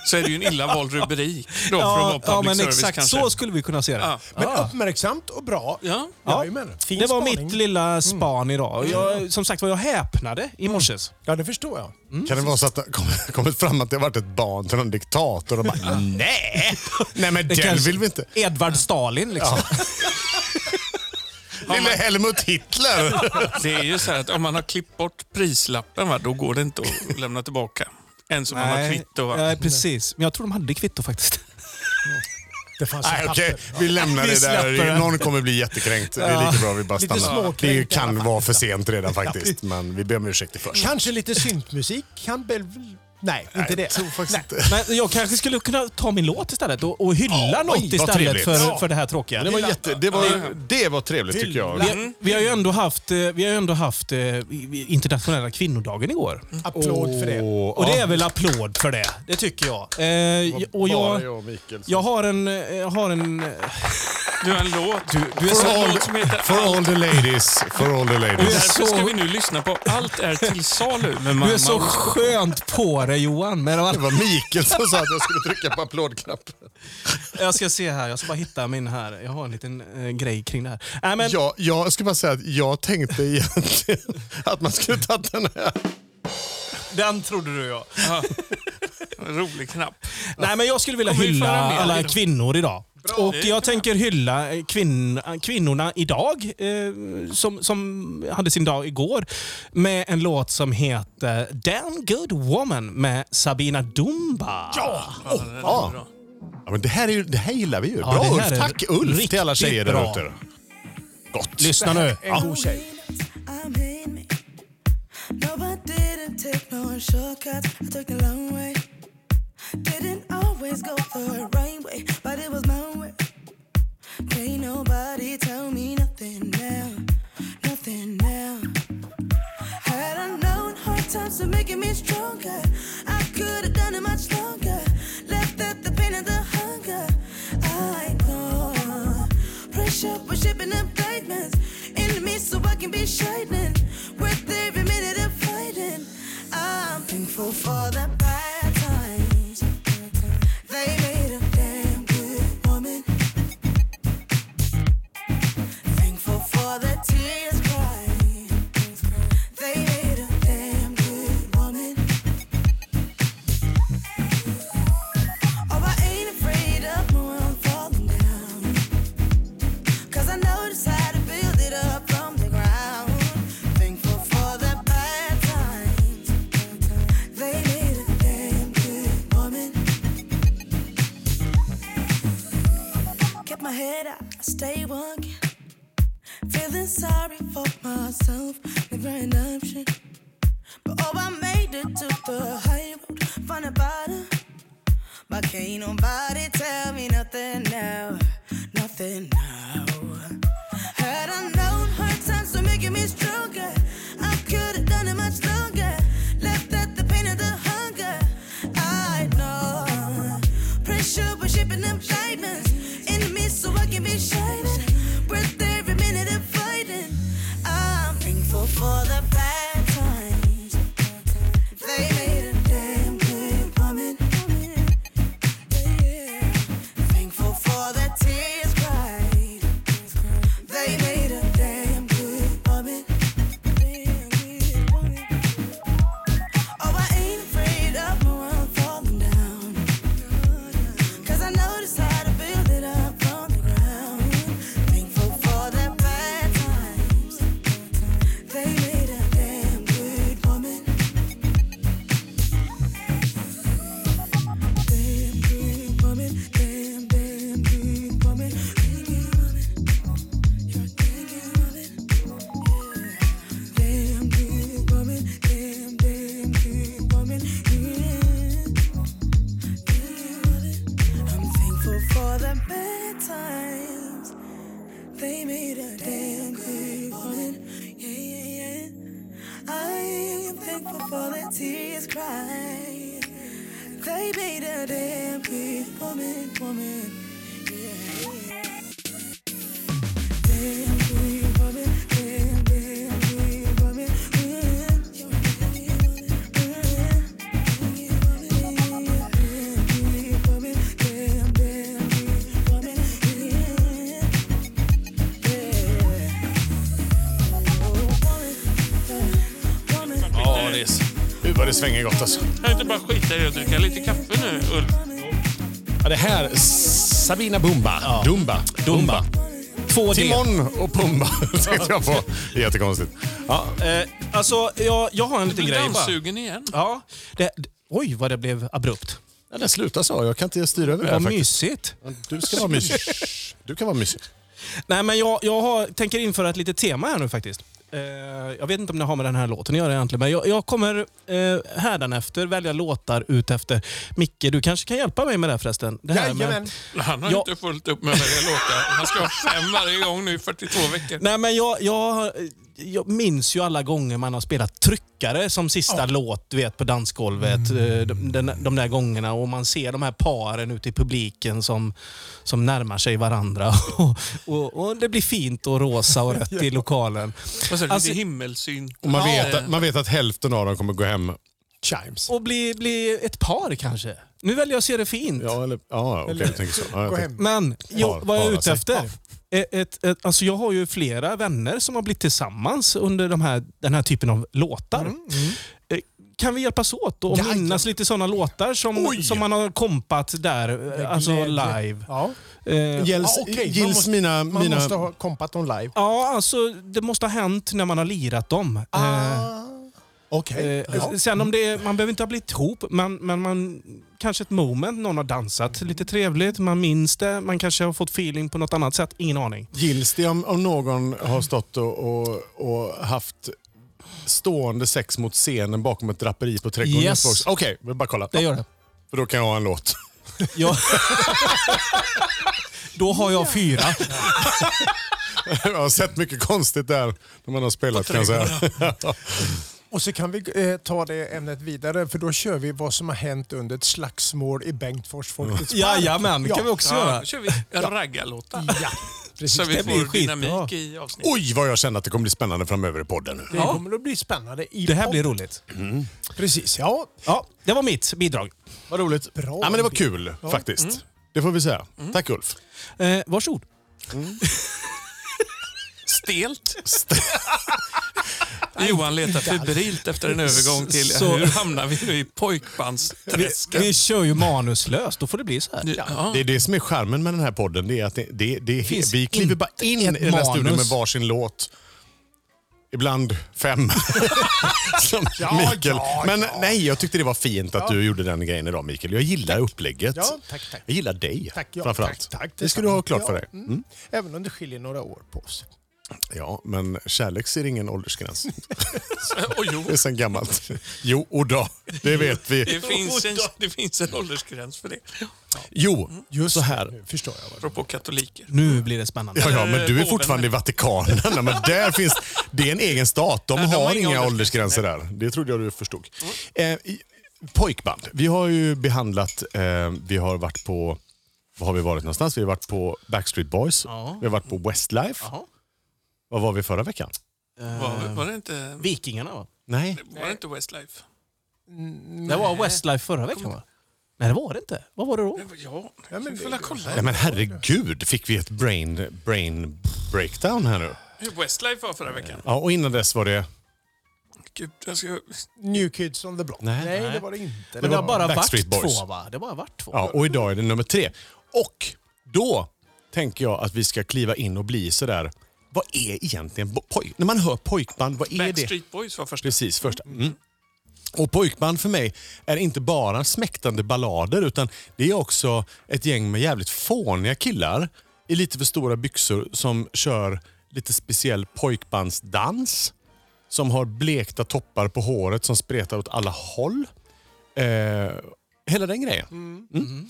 Speaker 2: så är det ju en illa vald rubrik då, för att vara
Speaker 4: ja,
Speaker 2: public
Speaker 4: ja, men
Speaker 2: service
Speaker 4: exakt
Speaker 2: kanske.
Speaker 4: så skulle vi kunna se det.
Speaker 2: Ja.
Speaker 1: Men
Speaker 4: Ja.
Speaker 1: uppmärksamt och bra.
Speaker 2: Ja.
Speaker 1: Jajamän. Fin
Speaker 4: Det var
Speaker 1: spaning.
Speaker 4: mitt
Speaker 3: Mm.
Speaker 4: lilla span idag. Och Jag, som sagt var, jag häpnade i morse.
Speaker 1: Ja, det förstår jag.
Speaker 3: Kan det vara så att det har kommit- kommit fram att det har varit ett barn till någon diktator och bara nej. Nej men den
Speaker 4: kanske-
Speaker 3: vill vi inte.
Speaker 4: Edvard Stalin liksom.
Speaker 3: Lille Helmut Hitler.
Speaker 2: Det är ju så här att om man har klippt bort prislappen, va, då går det inte att lämna tillbaka. Ens om man har kvitto. Va?
Speaker 4: nej, precis. Men jag tror de hade kvitto faktiskt.
Speaker 1: Det fanns
Speaker 3: Nej
Speaker 1: papper.
Speaker 3: okej, vi lämnar
Speaker 4: Vi
Speaker 3: det
Speaker 4: släpper
Speaker 3: där.
Speaker 4: det.
Speaker 3: Någon kommer bli jättekränkt. Det är lika bra vi bara
Speaker 1: Lite
Speaker 3: stannar.
Speaker 1: småkränkt
Speaker 3: Det
Speaker 1: i alla
Speaker 3: kan
Speaker 1: fall.
Speaker 3: vara för sent redan faktiskt. Men vi ber om ursäkt i förskott.
Speaker 1: Kanske lite syntmusik kan väl... Nej, inte det.
Speaker 3: Jag tror faktiskt inte.
Speaker 4: Men jag kanske skulle kunna ta min låt istället och, och hylla
Speaker 3: Ja,
Speaker 4: något
Speaker 3: oj, vad
Speaker 4: istället
Speaker 3: trevligt.
Speaker 4: för,
Speaker 3: Ja.
Speaker 4: för det här tråkiga.
Speaker 3: Det var, jätte, det, var, det var trevligt tycker jag.
Speaker 4: Vi, vi har ju ändå haft, eh, vi har ju ändå haft eh, i- i- internationella kvinnodagen igår.
Speaker 1: Applåd för det.
Speaker 3: Och,
Speaker 4: Och det är väl applåd för det. Det tycker jag. Eh, och
Speaker 3: Bara
Speaker 4: jag,
Speaker 3: jag och Mikael. som-
Speaker 4: jag har en... eh, Jag har en eh,
Speaker 2: Du har en låt.
Speaker 4: du är
Speaker 2: Du
Speaker 4: så-
Speaker 2: har en låt som heter
Speaker 3: For all the ladies. For all the
Speaker 4: Du är
Speaker 3: ladies.
Speaker 2: Därför ska
Speaker 4: så-
Speaker 2: vi nu lyssna på Allt är till salu med mamma.
Speaker 4: du är så
Speaker 2: Ulf.
Speaker 4: skönt på dig Johan. Men
Speaker 3: Det var Mikael som sa att jag skulle trycka på applådknappen.
Speaker 4: jag ska se här. Jag ska bara hitta min här. Jag har en liten eh, grej kring det här. Nej, men,
Speaker 3: Ja, jag ska bara säga att jag tänkte egentligen att man skulle ta den här.
Speaker 4: Den trodde du ja.
Speaker 2: Ja. Rolig knapp.
Speaker 4: Nej, men jag skulle vilja
Speaker 2: Kommer vi
Speaker 4: hylla
Speaker 2: föra med
Speaker 4: alla
Speaker 2: idag?
Speaker 4: kvinnor idag. och
Speaker 2: Det är bra.
Speaker 4: jag tänker hylla eh, kvinn, kvinnorna idag, eh, som, som hade sin dag igår, med en låt som heter Damn Good Woman med Sabina Dumba.
Speaker 3: Ja!
Speaker 2: Ja, den är
Speaker 3: ja.
Speaker 2: bra.
Speaker 3: Ja, men det, här är ju, det här gillar vi ju.
Speaker 4: det
Speaker 3: bra
Speaker 4: här
Speaker 3: Ulf.
Speaker 4: är
Speaker 3: Tack Ulf till alla
Speaker 4: riktigt
Speaker 3: tjejer
Speaker 4: bra.
Speaker 3: där ute. Gott.
Speaker 4: Lyssna nu.
Speaker 1: En god tjej.
Speaker 7: I'm in me. No, I didn't take no shortcuts. I took the long way. Didn't always go the right way, but it was my way. Can't nobody tell me nothing now, nothing now. Had I known hard times were making me stronger, I could have done it much longer. Left out the pain and the hunger. I know pressure was shaping up diamonds. so I can be shining. Worth every minute of fighting. I'm thankful for the bad times. They made a damn good woman. Thankful for the tears cried. They made a damn good woman. Oh, I ain't afraid of no one falling down. Cause I know just how to build it up from the ground. Thankful for the bad times. They made a damn good woman. Kept my head up, I stayed walking. Feeling sorry for myself, never an option. But oh, I made it to the high road, found a bottom. But can't nobody tell me nothing now, nothing now. Had I known hard times were making me stronger, I could have done it much longer. Left out the pain of the hunger. I know pressure was shaping them diamonds in me, so I can be shining. Worth every minute of fighting. I'm thankful for the bad times. They made a damn good woman. Thankful for the tears cried. They made a damn good woman. Oh, I ain't afraid of no one falling down. Cause I know just how to build it up from the ground. Thankful for the bad times. They made a damn good woman. Damn good woman, damn, damn good woman. Damn good woman, you're a damn good woman. Yeah. Damn good woman, damn, damn good woman. Yeah. Damn good woman. I'm thankful for the bad times. They made a damn good woman. Yeah, yeah, yeah. I'm thankful for the tears cried. They made a damn good woman, woman. Yeah. Damn good woman, damn, damn good woman. Yeah. Yeah. Damn good woman, damn, damn good woman. Yeah. Yeah. Oh, woman, woman.
Speaker 2: Ja, det är så.
Speaker 3: Gud vad det svänger gott alltså.
Speaker 2: Kan du inte bara skita i att dricka lite kaffe nu, Ulf?
Speaker 3: Ja, det här... Sabina Bumba. Dumba.
Speaker 4: Dumba. Två D.
Speaker 3: Timon och Pumba tänkte jag på. Det är Jättekonstigt. Ja,
Speaker 4: Eh, alltså, jag, jag har
Speaker 2: Du
Speaker 4: en liten
Speaker 2: blir
Speaker 4: grej bara.
Speaker 2: dammsugen igen.
Speaker 4: Ja, det, d- oj, vad det blev abrupt.
Speaker 3: ja, det slutar så. Jag kan inte styra över det här
Speaker 4: Vad
Speaker 3: faktiskt.
Speaker 4: mysigt.
Speaker 3: Du ska vara mysig. Du kan vara mysig.
Speaker 4: Nej, men jag, jag har, tänker införa ett litet tema här nu faktiskt. Eh, jag vet inte om det har med den här låten att göra egentligen, men jag, jag kommer eh, hädanefter välja låtar ut efter. Micke, du kanske kan hjälpa mig med det här förresten? Det här
Speaker 1: Jajamän.
Speaker 4: Med,
Speaker 2: Han har
Speaker 4: Ja.
Speaker 2: inte fullt upp med varje låt. där. Han ska ha fem varje gång nu i 42 veckor.
Speaker 4: nej, men jag, jag, har- jag minns ju alla gånger man har spelat tryckare som sista låt du vet, på dansgolvet. eh, De, de, de där gångerna och man ser de här paren ute i publiken som, som närmar sig varandra. Och, och, och det blir fint och rosa och rött i lokalen.
Speaker 2: Vad sa du?
Speaker 4: Alltså-
Speaker 2: Lite himmelsyn.
Speaker 3: Och man,
Speaker 2: Ja.
Speaker 3: vet, att- man vet att hälften av dem kommer gå hem.
Speaker 1: Chimes.
Speaker 4: Och bli, bli ett par kanske. Nu väljer jag att se det fint.
Speaker 3: Ja, eller... Ja, okej. du tänker så. Ja, jag
Speaker 1: Gå
Speaker 3: tänker-
Speaker 1: hem.
Speaker 4: Men jo,
Speaker 3: Par-
Speaker 4: vad jag är
Speaker 3: para
Speaker 4: ute
Speaker 3: sig.
Speaker 4: efter. Ett, ett, ett, alltså jag har ju flera vänner som har blivit tillsammans under de här, den här typen av låtar.
Speaker 3: Mm,
Speaker 4: Eh, Kan vi hjälpas åt och
Speaker 1: Jajamän.
Speaker 4: minnas lite sådana låtar som,
Speaker 3: Oj!
Speaker 4: som man har kompat där, eh, alltså
Speaker 1: Glädje.
Speaker 4: live?
Speaker 1: Ja.
Speaker 4: Eh,
Speaker 3: Gills,
Speaker 1: Ja, okej, man
Speaker 3: gills
Speaker 1: måste-
Speaker 3: mina...
Speaker 1: Man
Speaker 3: mina
Speaker 1: måste ha kompat dem live.
Speaker 4: Ja, alltså det måste ha hänt när man har lirat dem.
Speaker 3: Ah.
Speaker 4: Eh,
Speaker 1: Okej.
Speaker 4: Eh, Sen om det är, man behöver inte ha blivit ihop, men, men man, kanske ett moment, någon har dansat lite trevligt, man minns det, man kanske har fått feeling på något annat sätt, ingen aning.
Speaker 3: Gills det om, om någon har stått och, och, och haft stående sex mot scenen bakom ett draperi på Trädgården
Speaker 4: Yes.
Speaker 3: Göteborgs- Okej, vi bara kolla.
Speaker 4: gör det.
Speaker 3: För då kan jag ha en låt.
Speaker 4: Ja. Då har jag fyra.
Speaker 3: jag har sett mycket konstigt där när man har spelat kan jag säga.
Speaker 1: Och så kan vi eh, ta det ämnet vidare för då kör vi vad som har hänt under ett slagsmål i Bengtsfors Folkets park.
Speaker 4: Jajamän,
Speaker 1: Ja.
Speaker 4: kan vi också
Speaker 2: Ja,
Speaker 4: göra.
Speaker 2: då kör vi raggarlåtar.
Speaker 1: Ja. precis.
Speaker 2: Så vi
Speaker 4: Det
Speaker 2: får
Speaker 4: blir ju skitbra.
Speaker 2: dynamik i avsnittet.
Speaker 3: Oj, vad jag känner att det kommer bli spännande framöver i podden nu.
Speaker 1: Det kommer att bli spännande. I
Speaker 4: Det här blir
Speaker 1: podden.
Speaker 4: roligt.
Speaker 1: Precis, ja.
Speaker 4: Ja, det var mitt bidrag.
Speaker 3: Vad roligt.
Speaker 1: Bra Mm.
Speaker 3: ja, men det var
Speaker 1: bild.
Speaker 3: kul faktiskt. Det får vi säga.
Speaker 1: Mm.
Speaker 3: Tack Ulf.
Speaker 4: Eh, varsågod.
Speaker 2: Stelt. Johan letar febrilt efter en övergång till
Speaker 4: Så-
Speaker 2: hur hamnar vi nu i
Speaker 4: Vi,
Speaker 2: pojkbandsträsket.
Speaker 4: vi kör ju manuslöst, då får det bli så här.
Speaker 2: Ja.
Speaker 3: Det är det som är skärmen med den här podden. Det är att det, det, det,
Speaker 4: Finns
Speaker 3: vi kliver
Speaker 4: inte
Speaker 3: bara in i
Speaker 4: ett
Speaker 3: den här studion med
Speaker 4: manus.
Speaker 3: varsin låt. Ibland fem. som Mikael.
Speaker 1: ja,
Speaker 3: Men
Speaker 1: ja.
Speaker 3: nej, jag tyckte det var fint att du gjorde den grejen idag Mikael. Jag gillar upplägget.
Speaker 1: Ja, tack, tack.
Speaker 3: Jag gillar dig
Speaker 1: Tack, ja,
Speaker 3: framförallt.
Speaker 1: tack, tack,
Speaker 3: det ska du ha klart
Speaker 1: detsamma.
Speaker 3: för dig.
Speaker 1: Ja,
Speaker 3: Mm.
Speaker 1: Även om det skiljer några år på oss.
Speaker 3: Ja, men kärlek ser ingen åldersgräns.
Speaker 2: Och jo,
Speaker 3: Det är sen gammalt. Jo, och då. Det vet vi.
Speaker 2: det finns, en, det finns en åldersgräns för det.
Speaker 3: Jo,
Speaker 1: Just
Speaker 3: så här.
Speaker 1: Nu förstår jag. Vad det
Speaker 2: Apropå katoliker.
Speaker 4: Nu blir det spännande.
Speaker 3: Ja, ja, men du är
Speaker 2: Eh,
Speaker 3: fortfarande i Vatikanen. Nej, men där finns, det är en egen stat. De
Speaker 2: Nej,
Speaker 3: har, inga åldersgränser där. Det trodde jag du förstod. Eh, i- pojkband. Vi har ju behandlat... Eh, vi har varit på... Var har vi varit någonstans? Vi har varit på Backstreet Boys.
Speaker 4: Ja.
Speaker 3: Vi har varit på Westlife.
Speaker 4: Jaha.
Speaker 3: Vad var vi förra veckan?
Speaker 2: Var, var, det inte,
Speaker 4: Vikingarna va?
Speaker 3: Nej.
Speaker 2: var det inte Westlife?
Speaker 4: Det var Westlife förra veckan va? Nej, det var det inte. Vad var det då?
Speaker 2: Ja, vi får väl
Speaker 3: Nej,
Speaker 2: kolla.
Speaker 3: men herregud, fick vi ett brain, brain breakdown här nu?
Speaker 2: Hur Westlife var förra veckan.
Speaker 3: Ja, och innan dess var det...
Speaker 2: Gud, jag ska,
Speaker 1: New Kids on the Block.
Speaker 3: Nej.
Speaker 1: Nej, det var det inte.
Speaker 4: Men det har bara
Speaker 3: Backstreet
Speaker 4: varit
Speaker 3: Boys.
Speaker 4: två va? Det har bara varit två.
Speaker 3: Ja, och idag är det nummer tre. Och då tänker jag att vi ska kliva in och bli sådär, vad är egentligen bo- poj? När man hör pojkband, vad är det?
Speaker 2: Backstreet Boys var första.
Speaker 3: Precis, första. Mm. Och pojkband för mig är inte bara smäktande ballader utan det är också ett gäng med jävligt fåniga killar i lite för stora byxor som kör lite speciell pojkbandsdans. Som har blekta toppar på håret som spretar åt alla håll. Eh, hela den grejen. Mm.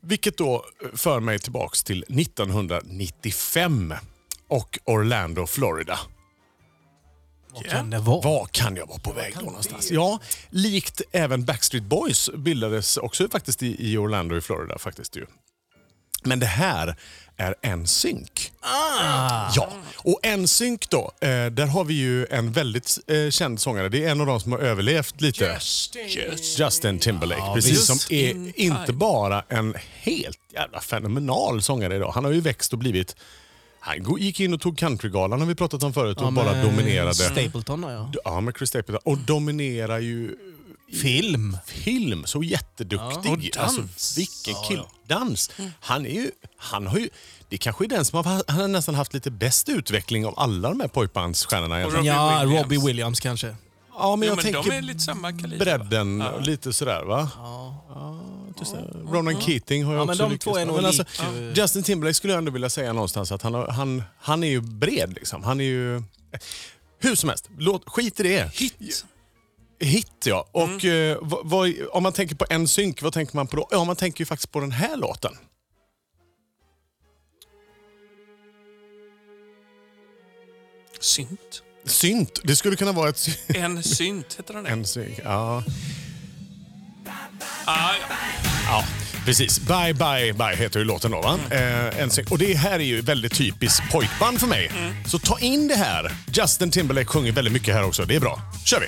Speaker 3: Vilket då eh, för mig tillbaks till 1995 och Orlando, Florida.
Speaker 4: Vad kan det vara?
Speaker 3: Var kan jag vara på väg då någonstans? Ja, likt även Backstreet Boys bildades också faktiskt i, i Orlando i Florida. faktiskt ju. Men det här är NSYNC. Ah. Ja, och NSYNC då, eh, där har vi ju en väldigt eh, känd sångare. Det är en av de som har överlevt lite. Just- Justin Timberlake, precis
Speaker 4: visst.
Speaker 3: som är
Speaker 2: In
Speaker 3: inte
Speaker 2: time.
Speaker 3: bara en helt jävla fenomenal sångare idag. Han har ju växt och blivit... Han go- gick in och tog Countrygalan, har vi pratat om förut, och bara
Speaker 4: med
Speaker 3: dominerade.
Speaker 4: Stapleton ja.
Speaker 3: Ja, med Chris Stapleton. Och dominerar ju
Speaker 4: Film.
Speaker 3: film. Så jätteduktig.
Speaker 2: Och dans. Mm.
Speaker 3: Alltså, vilken kill. Dans. Han är ju... Han har ju... Det kanske är den som har, han har nästan haft lite bäst utveckling av alla de här pojkbandsstjärnorna.
Speaker 2: Och Robbie
Speaker 3: egentligen.
Speaker 4: ja,
Speaker 2: Williams.
Speaker 4: Robbie Williams kanske.
Speaker 3: Ja, men
Speaker 2: Ja,
Speaker 3: jag
Speaker 2: men
Speaker 3: tänker
Speaker 2: de är lite samma kaliber. va?
Speaker 3: bredden och lite sådär va? Ja. just det. Ronan Keating har jag
Speaker 4: Ja, men
Speaker 3: också
Speaker 4: de
Speaker 3: lyckats
Speaker 4: två är
Speaker 3: med.
Speaker 4: nog
Speaker 3: Men alltså,
Speaker 4: lik ju.
Speaker 3: Justin Timberlake skulle jag ändå vilja säga någonstans att han, har, han, han är ju bred liksom. Han är ju... Hur som helst, låt, skit i det.
Speaker 2: Hit.
Speaker 3: Hit ja. Och
Speaker 4: Mm.
Speaker 3: eh, vad, vad, om man tänker på NSYNC, vad tänker man på då? Ja, man tänker ju faktiskt på den här låten.
Speaker 2: Synt.
Speaker 3: Synt. Det skulle kunna vara ett... sy-
Speaker 2: En synt heter den. där.
Speaker 3: NSYNC, ja.
Speaker 2: Ah, ja.
Speaker 3: Ja, precis. Bye, bye, bye heter ju låten då. Va?
Speaker 4: Mm.
Speaker 3: Eh, NSYNC. och det här är ju väldigt typiskt pojkband för mig.
Speaker 4: Mm.
Speaker 3: Så ta in det här. Justin Timberlake sjunger väldigt mycket här också. Det är bra. kör vi!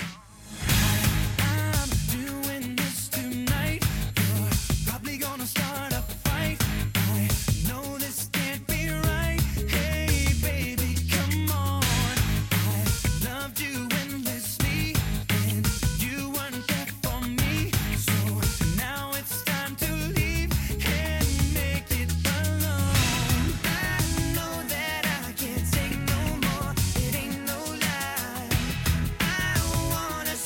Speaker 7: Can't take no more, it ain't no lie. I wanna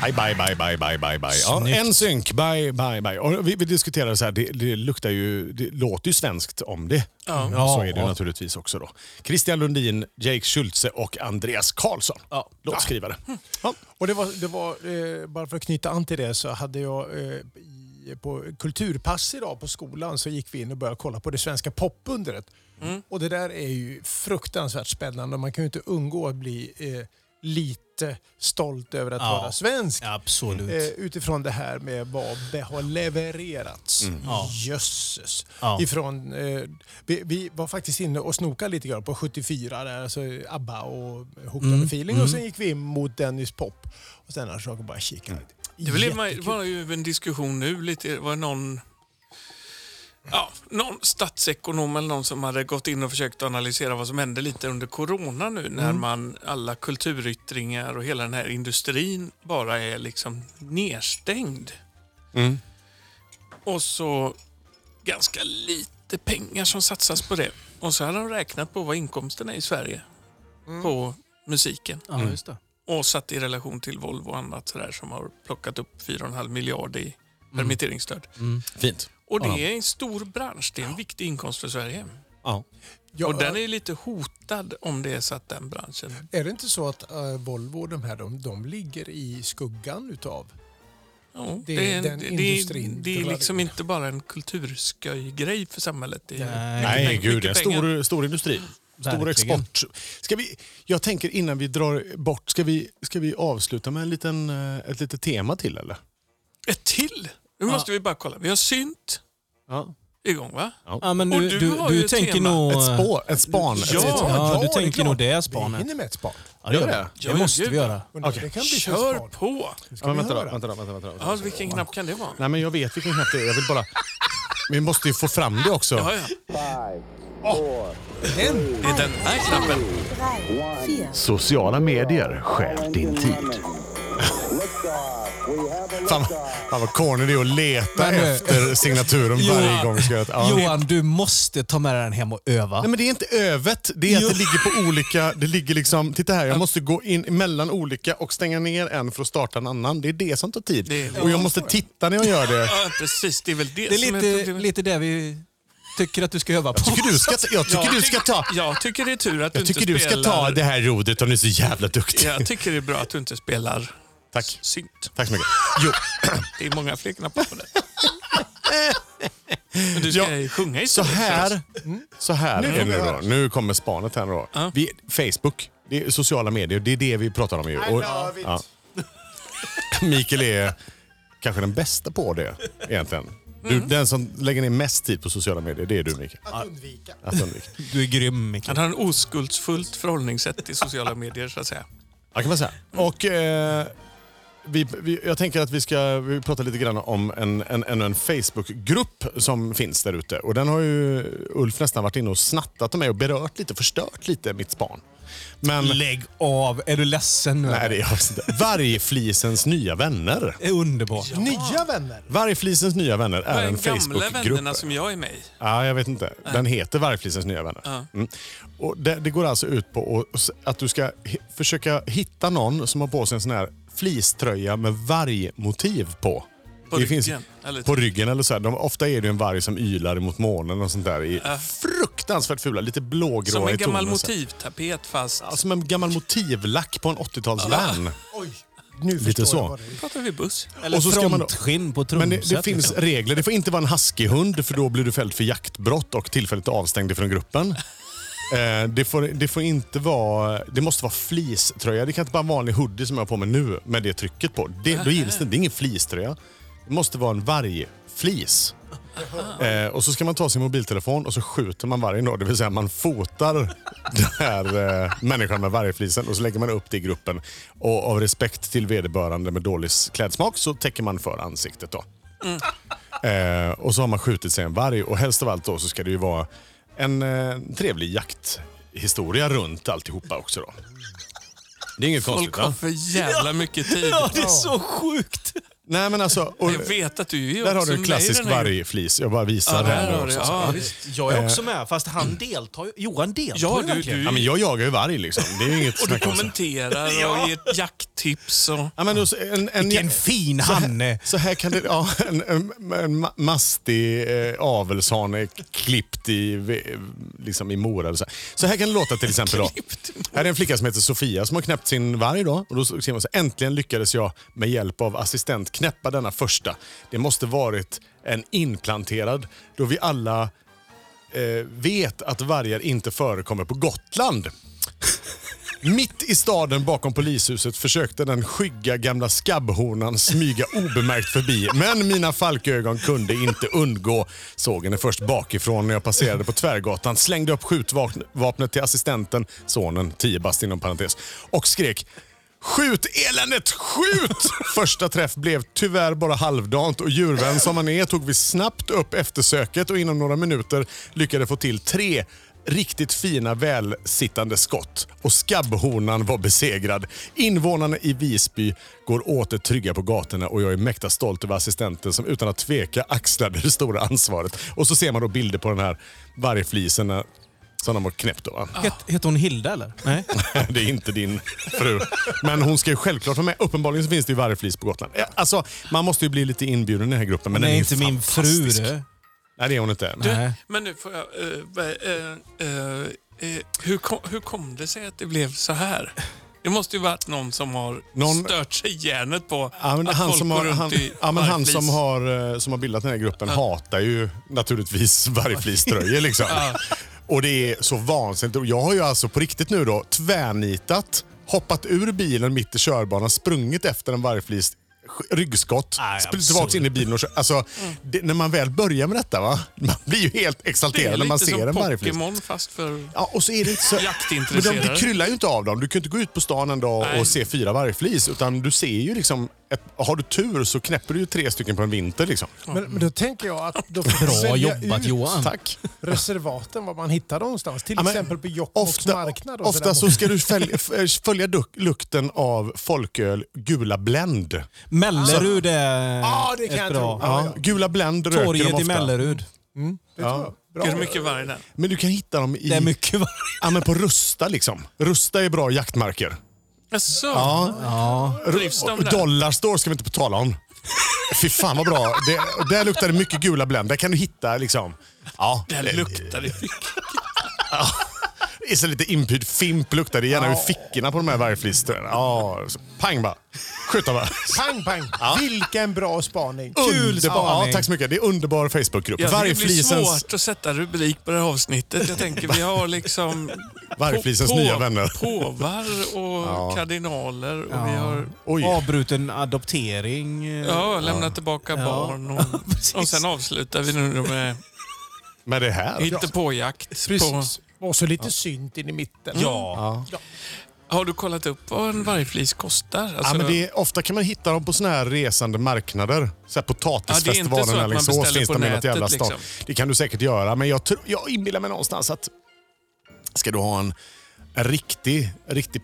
Speaker 3: Bye, bye, bye, bye, bye, bye, bye. Ja,
Speaker 4: Snyggt.
Speaker 3: en synk, bye, bye, bye. Och vi, vi diskuterade så här, det, det luktar ju, det låter ju svenskt om det. Mm.
Speaker 4: Ja.
Speaker 3: Så är det ju naturligtvis också då. Christian Lundin, Jake Schultze och Andreas Karlsson.
Speaker 4: Ja. Mm.
Speaker 3: Låtskrivare. Ja.
Speaker 1: Och det var, det var eh, bara för att knyta an till det så hade jag eh, i, på kulturpass idag på skolan så gick vi in och började kolla på det svenska popundret. Och det där är ju fruktansvärt spännande och man kan ju inte undgå att bli eh, lite stolt över att
Speaker 4: Ja.
Speaker 1: vara svensk.
Speaker 4: Absolut.
Speaker 1: Eh, utifrån det här med vad det har levererats.
Speaker 4: Ja.
Speaker 1: Jösses.
Speaker 4: Ja.
Speaker 1: Ifrån, eh, vi, vi var faktiskt inne och snokade lite grann på 74, där, alltså ABBA och Hooked
Speaker 4: Mm.
Speaker 1: on a feeling. Och sen gick vi in mot Dennis Pop. Och sen har jag bara kikat.
Speaker 2: Det blev-
Speaker 1: Jättekul.
Speaker 2: var ju en diskussion nu lite, det var någon, ja, någon statsekonom eller någon som hade gått in och försökt analysera vad som hände lite under corona nu när man, alla kulturyttringar och hela den här industrin bara är liksom nedstängd. Och så ganska lite pengar som satsas på det. Och så hade de räknat på vad inkomsterna är i Sverige på musiken
Speaker 4: Ja, just det.
Speaker 2: och satt i relation till Volvo och annat sådär som har plockat upp 4,5 miljard i permitteringsstöd.
Speaker 3: Fint.
Speaker 2: Och det är en stor bransch, det är en viktig inkomst för Sverige.
Speaker 3: Ja.
Speaker 1: Ja,
Speaker 2: Och den är lite hotad om det är så att den branschen...
Speaker 1: Är det inte så att eh, Volvo och de här, de, de ligger i skuggan utav?
Speaker 2: Ja,
Speaker 1: Det är
Speaker 2: en-
Speaker 1: den
Speaker 2: det,
Speaker 1: industrin
Speaker 2: det, det är
Speaker 1: drar
Speaker 2: liksom
Speaker 1: in.
Speaker 2: inte bara en kultursköj-grej för samhället. Det är
Speaker 4: Nej.
Speaker 2: mycket
Speaker 3: Nej,
Speaker 2: pengar-
Speaker 3: gud. En
Speaker 2: mycket pengar.
Speaker 3: stor, stor industri. Stor
Speaker 4: Verkligen.
Speaker 3: export. Ska vi, jag tänker innan vi drar bort, ska vi, ska vi avsluta med en liten, eh, ett litet tema till eller?
Speaker 2: Ett till! Nu måste vi bara kolla. Vi har synt
Speaker 3: Ja.
Speaker 2: igång, va?
Speaker 4: Ja, men
Speaker 2: Och
Speaker 4: du,
Speaker 2: du
Speaker 4: du,
Speaker 2: har ju
Speaker 4: du
Speaker 2: ett
Speaker 4: tänker
Speaker 2: tema.
Speaker 4: nog...
Speaker 3: Ett spår, ett span.
Speaker 2: Ja.
Speaker 3: Ett,
Speaker 4: eh, Ja,
Speaker 1: det
Speaker 4: du
Speaker 1: är
Speaker 4: tänker
Speaker 1: klart.
Speaker 4: nog det spanet.
Speaker 1: Vi hinner med ett span.
Speaker 4: Ja, det gör
Speaker 3: Gör
Speaker 4: det.
Speaker 3: det?
Speaker 4: Det måste vi göra.
Speaker 1: Och nej,
Speaker 3: Okej.
Speaker 1: Det kan bli till ett
Speaker 2: Kör
Speaker 1: span.
Speaker 2: på!
Speaker 1: Ska
Speaker 3: men
Speaker 1: vi
Speaker 3: vänta, då,
Speaker 1: höra?
Speaker 3: vänta, då, vänta, vänta,
Speaker 2: Ja,
Speaker 3: vänta.
Speaker 2: vilken knapp kan det vara?
Speaker 3: Nej, men jag vet vilken knapp det är. Jag vill bara... Vi måste ju få fram det också.
Speaker 2: Ja, ja.
Speaker 1: Den
Speaker 2: Det är den här knappen.
Speaker 8: Sociala medier stjäl din tid.
Speaker 3: Fan, fan vad corny det är att leta
Speaker 4: Men, eh,
Speaker 3: efter signaturen varje gång vi ska göra ett... Ja.
Speaker 4: Johan, du måste ta med dig den hem och öva.
Speaker 3: Nej, men det är inte övet. Det är att
Speaker 4: Jo.
Speaker 3: det ligger på olika... Det ligger liksom... Titta här, jag måste gå in mellan olika och stänga ner en för att starta en annan. Det är det som tar tid.
Speaker 2: Det är-
Speaker 3: och jag måste titta när jag gör det.
Speaker 2: Ja, precis. Det är väl det,
Speaker 4: Det
Speaker 2: som
Speaker 4: är
Speaker 2: är
Speaker 4: lite,
Speaker 2: problemet.
Speaker 4: lite det vi tycker att du ska öva på.
Speaker 3: Jag tycker du ska, jag tycker
Speaker 2: Jag
Speaker 3: du ska ta...
Speaker 2: Jag tycker det är tur att du
Speaker 3: Jag tycker
Speaker 2: inte
Speaker 3: du ska
Speaker 2: spelar...
Speaker 3: ta det här rodet om du är så jävla duktig.
Speaker 2: Jag tycker det är bra att du inte spelar
Speaker 3: Tack.
Speaker 2: synt.
Speaker 3: Tack så mycket. Jo.
Speaker 2: Det är många fler knappar på det. Men du ska
Speaker 3: Ja,
Speaker 2: ju sjunga
Speaker 3: Så
Speaker 2: istället.
Speaker 3: här, Mm. så här är det nu då. Nu kommer spanet här nu då. Vi, Facebook, det är sociala medier, det är det vi pratar om ju. Och, ja. Mikael är kanske den bästa på det egentligen. Du, Den som lägger ner mest tid på sociala medier, det är du Mikael.
Speaker 1: att undvika.
Speaker 3: Mm. Att undvika.
Speaker 4: Du är grym, Mikael.
Speaker 2: Han har en oskuldsfullt förhållningssätt till sociala medier så att säga.
Speaker 3: Ja, kan man säga.
Speaker 2: Mm.
Speaker 3: Och, eh, vi, vi, jag tänker att vi ska vi prata lite grann om en, en, en, en Facebookgrupp som finns där ute. Och den har ju Ulf nästan varit inne och snattat om mig och berört lite, förstört lite mitt span. Men,
Speaker 4: Lägg av. Är du ledsen nu?
Speaker 3: nej, det är jag inte. Vargflisens nya vänner.
Speaker 4: Det är underbart.
Speaker 1: Nya vänner.
Speaker 3: Vargflisens nya vänner
Speaker 2: Vad
Speaker 3: är
Speaker 2: är
Speaker 3: en
Speaker 2: de gamla
Speaker 3: Facebookgrupp.
Speaker 2: vännerna som jag är med i?
Speaker 3: Ja, jag vet inte. Den heter Vargflisens nya vänner. Mm. Och det, det går alltså ut på att- att du ska hi- försöka hitta någon som har på sig en sån här fleecetröja med vargmotiv på.
Speaker 2: På
Speaker 3: Det
Speaker 2: ryggen,
Speaker 3: finns-
Speaker 2: eller-
Speaker 3: på ryggen eller så. Här. De, ofta är det ju en varg som ylar mot månen och sånt där. I Fruktansvärt fula, lite blågråa
Speaker 2: Som en
Speaker 3: i tonen
Speaker 2: gammal
Speaker 3: och så här.
Speaker 2: motivtapet fast...
Speaker 3: Ja, Som en gammal motivlack på en 80-talsvan.
Speaker 1: Oj, nu
Speaker 3: Lite
Speaker 1: förstår
Speaker 3: så.
Speaker 1: jag vad det är.
Speaker 2: Pratar vi buss?
Speaker 4: Eller
Speaker 3: Och så ska man då-
Speaker 4: frontskinn på trumset.
Speaker 3: Men det, det finns
Speaker 4: liksom.
Speaker 3: regler. Det får inte vara en huskyhund för då blir du fälld för jaktbrott och tillfälligt avstängd från gruppen. Eh, det, får, det får inte vara... Det måste vara fleecetröja. Det kan inte bara vara en vanlig hoodie som jag har på mig nu med det trycket på. Det, då gills det inte. Det är ingen fleecetröja. Det måste vara en vargflis. Eh, och så ska man ta sin mobiltelefon och så skjuter man vargen då. Det vill säga man fotar den här eh, människan med vargflisen och så lägger man upp det i gruppen. Och av respekt till vederbörande med dålig s- klädsmak så täcker man för ansiktet då.
Speaker 2: Mm.
Speaker 3: Eh, och så har man skjutit sig en varg och helst av allt då så ska det ju vara en eh, trevlig jakthistoria runt alltihopa också då. Det är inget
Speaker 2: Folk
Speaker 3: konstigt
Speaker 2: har
Speaker 3: va?
Speaker 2: för jävla mycket tid.
Speaker 4: Ja, det är så sjukt!
Speaker 3: Nej men alltså... Och,
Speaker 2: Jag vet att du är ju
Speaker 3: där har
Speaker 2: också
Speaker 3: du en
Speaker 2: med i
Speaker 3: klassisk
Speaker 2: den här
Speaker 3: vargflis. Jag bara visar
Speaker 2: Ja,
Speaker 3: det
Speaker 2: där
Speaker 3: här
Speaker 2: har
Speaker 3: nu
Speaker 2: du.
Speaker 3: också.
Speaker 2: Ja,
Speaker 4: Jag är också med, fast han deltar ju. Johan deltar
Speaker 2: Ja,
Speaker 4: ju
Speaker 2: du,
Speaker 4: verkligen.
Speaker 2: du,
Speaker 3: Ja, men jag jagar ju varg liksom. Det är ju inget
Speaker 2: och du
Speaker 3: snack om saken.
Speaker 2: kommenterar och ger jakttips. Och,
Speaker 3: Ja, men då- en, en,
Speaker 4: Vilken fin hanne!
Speaker 3: Så här kan det... Ja, en, en, en ma- mastig eh, avelshane klippt i, ve- liksom i Mora. Eller så, här. så här kan det låta till exempel. Då. Här är en flicka som heter Sofia som har knäppt sin varg. Då, och då ser man så här, äntligen lyckades jag med hjälp av assistent knäppa denna första. Det måste varit en inplanterad då vi alla eh, vet att vargar inte förekommer på Gotland. Mitt i staden bakom polishuset försökte den skygga gamla skabbhonan smyga obemärkt förbi. Men mina falkögon kunde inte undgå. Såg henne först bakifrån när jag passerade på tvärgatan. Slängde upp skjutvapnet till assistenten, sonen, 10 bast inom parentes, och skrek Skjut eländet, skjut! Första träff blev tyvärr bara halvdant och djurvän som man är tog vi snabbt upp eftersöket och inom några minuter lyckades få till tre riktigt fina välsittande skott och skabbhonan var besegrad. Invånarna i Visby går åter trygga på gatorna och jag är mäkta stolt över assistenten som utan att tveka axlade det stora ansvaret. Och så ser man då bilder på den här vargflisen eh, som de har knäppt. Då, va?
Speaker 4: Het, heter hon Hilda eller? Nej.
Speaker 3: Det är inte din fru. Men hon ska ju självklart vara med. Uppenbarligen så finns det ju vargflis på Gotland. Eh, Alltså, man måste ju bli lite inbjuden i den här gruppen. Men
Speaker 4: Nej,
Speaker 3: den är
Speaker 4: inte
Speaker 3: ju
Speaker 4: min fru
Speaker 3: fantastisk.
Speaker 4: du.
Speaker 3: Nej, det är hon inte.
Speaker 2: Du,
Speaker 4: Nej.
Speaker 2: men nu får jag... eh, eh, eh, eh, hur, kom, hur kom det sig att det blev så här? Det måste ju varit någon som har
Speaker 3: Någon-
Speaker 2: stört sig järnet på
Speaker 3: Ja, men
Speaker 2: att
Speaker 3: han
Speaker 2: folk
Speaker 3: som
Speaker 2: går
Speaker 3: har,
Speaker 2: runt
Speaker 3: han,
Speaker 2: i
Speaker 3: ja, men han
Speaker 2: vargflis.
Speaker 3: som har, eh, som har bildat den här gruppen hatar ju naturligtvis vargfliströjor. Liksom. Och det är så vansinnigt. Och Jag har ju alltså på riktigt nu då tvärnitat, hoppat ur bilen mitt i körbanan, sprungit efter en vargflis sk- ryggskott,
Speaker 4: Nej,
Speaker 3: sprungit tillbaka in i bilen och kör. Alltså,
Speaker 2: Mm.
Speaker 3: det, när man väl börjar med detta, va? man blir ju helt
Speaker 2: Det är
Speaker 3: exalterad när
Speaker 2: lite
Speaker 3: man ser en
Speaker 2: som
Speaker 3: vargflis.
Speaker 2: Pokémon fast för...
Speaker 3: Ja, och så är det inte så... Men de,
Speaker 2: Jaktintresserade.
Speaker 3: det kryllar ju inte av dem. Du kan ju inte gå ut på stan en dag
Speaker 2: Nej.
Speaker 3: och se fyra vargflis. Utan du ser ju liksom... Ett, har du tur så knäpper du ju tre stycken på en vinter. Liksom.
Speaker 1: Men, men då tänker jag att då får vi
Speaker 4: Bra
Speaker 1: sälja
Speaker 4: jobbat
Speaker 1: ut
Speaker 4: Johan.
Speaker 3: Tack.
Speaker 1: reservaten, var man hittar någonstans. Till
Speaker 3: Ja, men
Speaker 1: exempel på Jokkmokks
Speaker 3: Ofta,
Speaker 1: marknad. och
Speaker 3: ofta
Speaker 1: där
Speaker 3: så ska du följa, f- eh, följa duk, lukten av folköl Gula Blend.
Speaker 4: Mellerud är
Speaker 1: Ja, det kan
Speaker 4: ett
Speaker 1: jag
Speaker 4: bra.
Speaker 1: tro.
Speaker 3: Ja, Gula Blend röker de
Speaker 4: Torget
Speaker 3: ofta.
Speaker 4: i Mellerud.
Speaker 3: Ja.
Speaker 1: borta.
Speaker 2: Hur mycket varg där?
Speaker 3: Men du kan hitta dem i,
Speaker 4: Det är mycket varg.
Speaker 3: ja, men på Rusta. Liksom. Rusta är bra jaktmarker.
Speaker 2: Jaså?
Speaker 3: Ja.
Speaker 2: Drivs de där?
Speaker 3: Dollarstore ska vi inte tala om. Fy fan vad bra. Det, där luktar det mycket gula Blend. Där kan du hitta liksom... Ja,
Speaker 2: Där
Speaker 3: det-
Speaker 2: luktar det mycket.
Speaker 3: det är så lite inpyrd fimp luktar det gärna ur fickorna på de här vargflisterna. Ja, så pang bara. Skjuta bara.
Speaker 1: Pang, pang! Vilken bra spaning!
Speaker 3: Underbar. Ja,
Speaker 4: spaning.
Speaker 3: tack så mycket. Det är underbar Facebookgrupp.
Speaker 2: Jag tycker Det blir
Speaker 3: Vargflisens...
Speaker 2: svårt att sätta rubrik på det här avsnittet. Jag tänker vi har liksom...
Speaker 3: Vargflisens nya vänner.
Speaker 2: Påvar och kardinaler och vi har
Speaker 3: Oj.
Speaker 4: Avbruten adoptering. eh,
Speaker 2: ja, lämnat tillbaka barn. Och, och sen avslutar vi nu med
Speaker 3: Med det här.
Speaker 2: hittepåjakt. På,
Speaker 1: Precis. Och så lite synt in i mitten.
Speaker 4: Ja.
Speaker 2: har du kollat upp vad en vargflis kostar? Alltså,
Speaker 3: Ja, men det är, ofta kan man hitta dem på såna här resande marknader. Så här
Speaker 2: Ja, det är inte
Speaker 3: potatisfestivalen
Speaker 2: så att
Speaker 3: eller
Speaker 2: man
Speaker 3: så
Speaker 2: beställer
Speaker 3: finns
Speaker 2: på
Speaker 3: de i något
Speaker 2: nätet,
Speaker 3: jävla stan.
Speaker 2: liksom.
Speaker 3: Det kan du säkert göra, men jag, tror, jag inbillar mig någonstans att ska du ha en, en riktig, riktig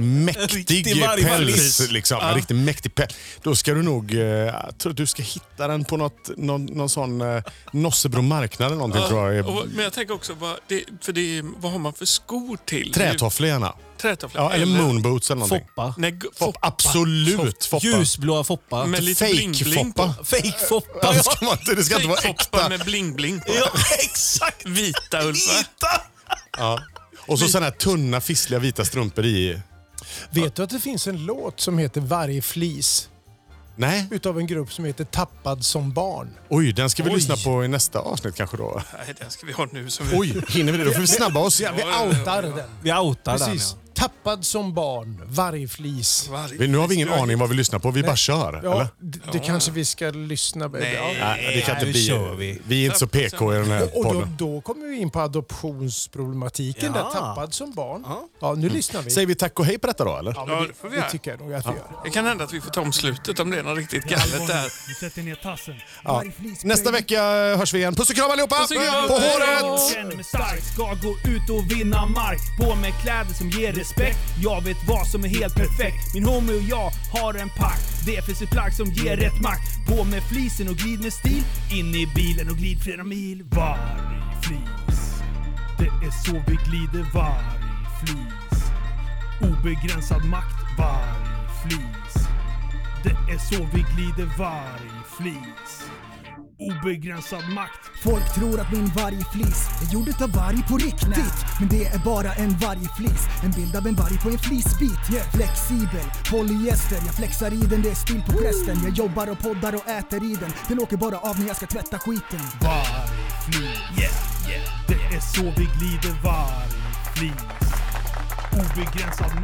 Speaker 3: mäktig
Speaker 4: riktig varg-
Speaker 3: päls.
Speaker 4: varg.
Speaker 3: Liksom. En
Speaker 4: Ja.
Speaker 3: riktigt mäktig päls. Då ska du nog... eh, Jag tror att du ska hitta den på något, någon, någon sån eh, Nossebro marknad eller någonting. tror jag.
Speaker 2: och, men jag tänker också, vad, det, för det, är- vad har man för skor till?
Speaker 3: Trätofflor gärna.
Speaker 2: Det är- Trätofflor.
Speaker 3: Ja, eller moonboots eller någonting.
Speaker 4: Foppa.
Speaker 2: Nej, gu-
Speaker 3: Foppa. Absolut Foppa.
Speaker 4: Ljusblåa Foppa.
Speaker 2: Med lite bling-bling på.
Speaker 3: Ah, typ Fake-Foppa.
Speaker 4: Fake Foppa.
Speaker 3: Ja, det ska man inte- Det ska inte vara
Speaker 2: Foppa
Speaker 3: äkta.
Speaker 2: med bling-bling på.
Speaker 4: Ja, exakt.
Speaker 2: Vita Ulfa.
Speaker 3: Och så sådana här tunna, fissliga vita strumpor i.
Speaker 1: Vet du att det finns en låt som heter Varje flis?
Speaker 3: Nej,
Speaker 1: Utav en grupp som heter Tappad som barn.
Speaker 3: oj, den ska vi lyssna på i nästa avsnitt kanske då.
Speaker 2: Nej, den ska vi ha nu. Som vi-
Speaker 3: Oj, hinner vi det? Då får vi snabba oss.
Speaker 1: Vi outar den.
Speaker 4: Vi outar den.
Speaker 1: Precis.
Speaker 4: Ja.
Speaker 1: Tappad som barn, vargflis.
Speaker 2: Varje-
Speaker 3: Vi- Nu har vi ingen aning vad vi lyssnar på. Vi bara kör.
Speaker 1: Ja,
Speaker 3: Eller?
Speaker 1: det, det kanske vi ska lyssna på.
Speaker 2: Nej.
Speaker 1: Ja.
Speaker 3: Nej, det kan inte
Speaker 4: nu
Speaker 3: bli.
Speaker 4: kör vi.
Speaker 3: vi är inte så PK i den
Speaker 1: Eh,
Speaker 3: här
Speaker 1: Och då,
Speaker 3: Eh, podden.
Speaker 1: då kommer vi in på adoptionsproblematiken.
Speaker 4: Ja.
Speaker 1: Där, tappad som barn. Ja, nu lyssnar vi.
Speaker 3: Säger vi tack och hej på detta då, eller?
Speaker 1: men
Speaker 2: Ja,
Speaker 1: det,
Speaker 2: det får vi
Speaker 1: det
Speaker 2: göra.
Speaker 1: tycker jag nog att vi gör.
Speaker 2: Det kan hända att vi får ta om slutet om det är något riktigt galet där.
Speaker 9: Vi sätter ner tassen.
Speaker 3: Ja. Nästa vecka hörs vi igen. Puss och kram allihopa!
Speaker 2: Puss och kram!
Speaker 3: På håret!
Speaker 9: Jag känner mig stark, ska gå ut och vinna mark. På mig kläder som ger respekt. Jag vet vad som är helt perfekt. Min homie och jag har en pakt. Det finns ett plagg som ger rätt makt. På med flisen och glid med stil. In i bilen och glid flera mil. Varg flis. Det är så vi glider varg flis. Obegränsad makt varg flis. Det är så vi glider varg flis. Obegränsad makt
Speaker 10: Folk tror att min vargflis är gjord utav varg på riktigt. Men det är bara en vargflis. En bild av en varg på en flisbit. Flexibel, polyester. Jag flexar i den, det är stil på prästen. Jag jobbar och poddar och äter i den. Den åker bara av när jag ska tvätta skiten.
Speaker 9: Vargflis. Yeah, yeah, det är så vi glider vargflis. Obegränsad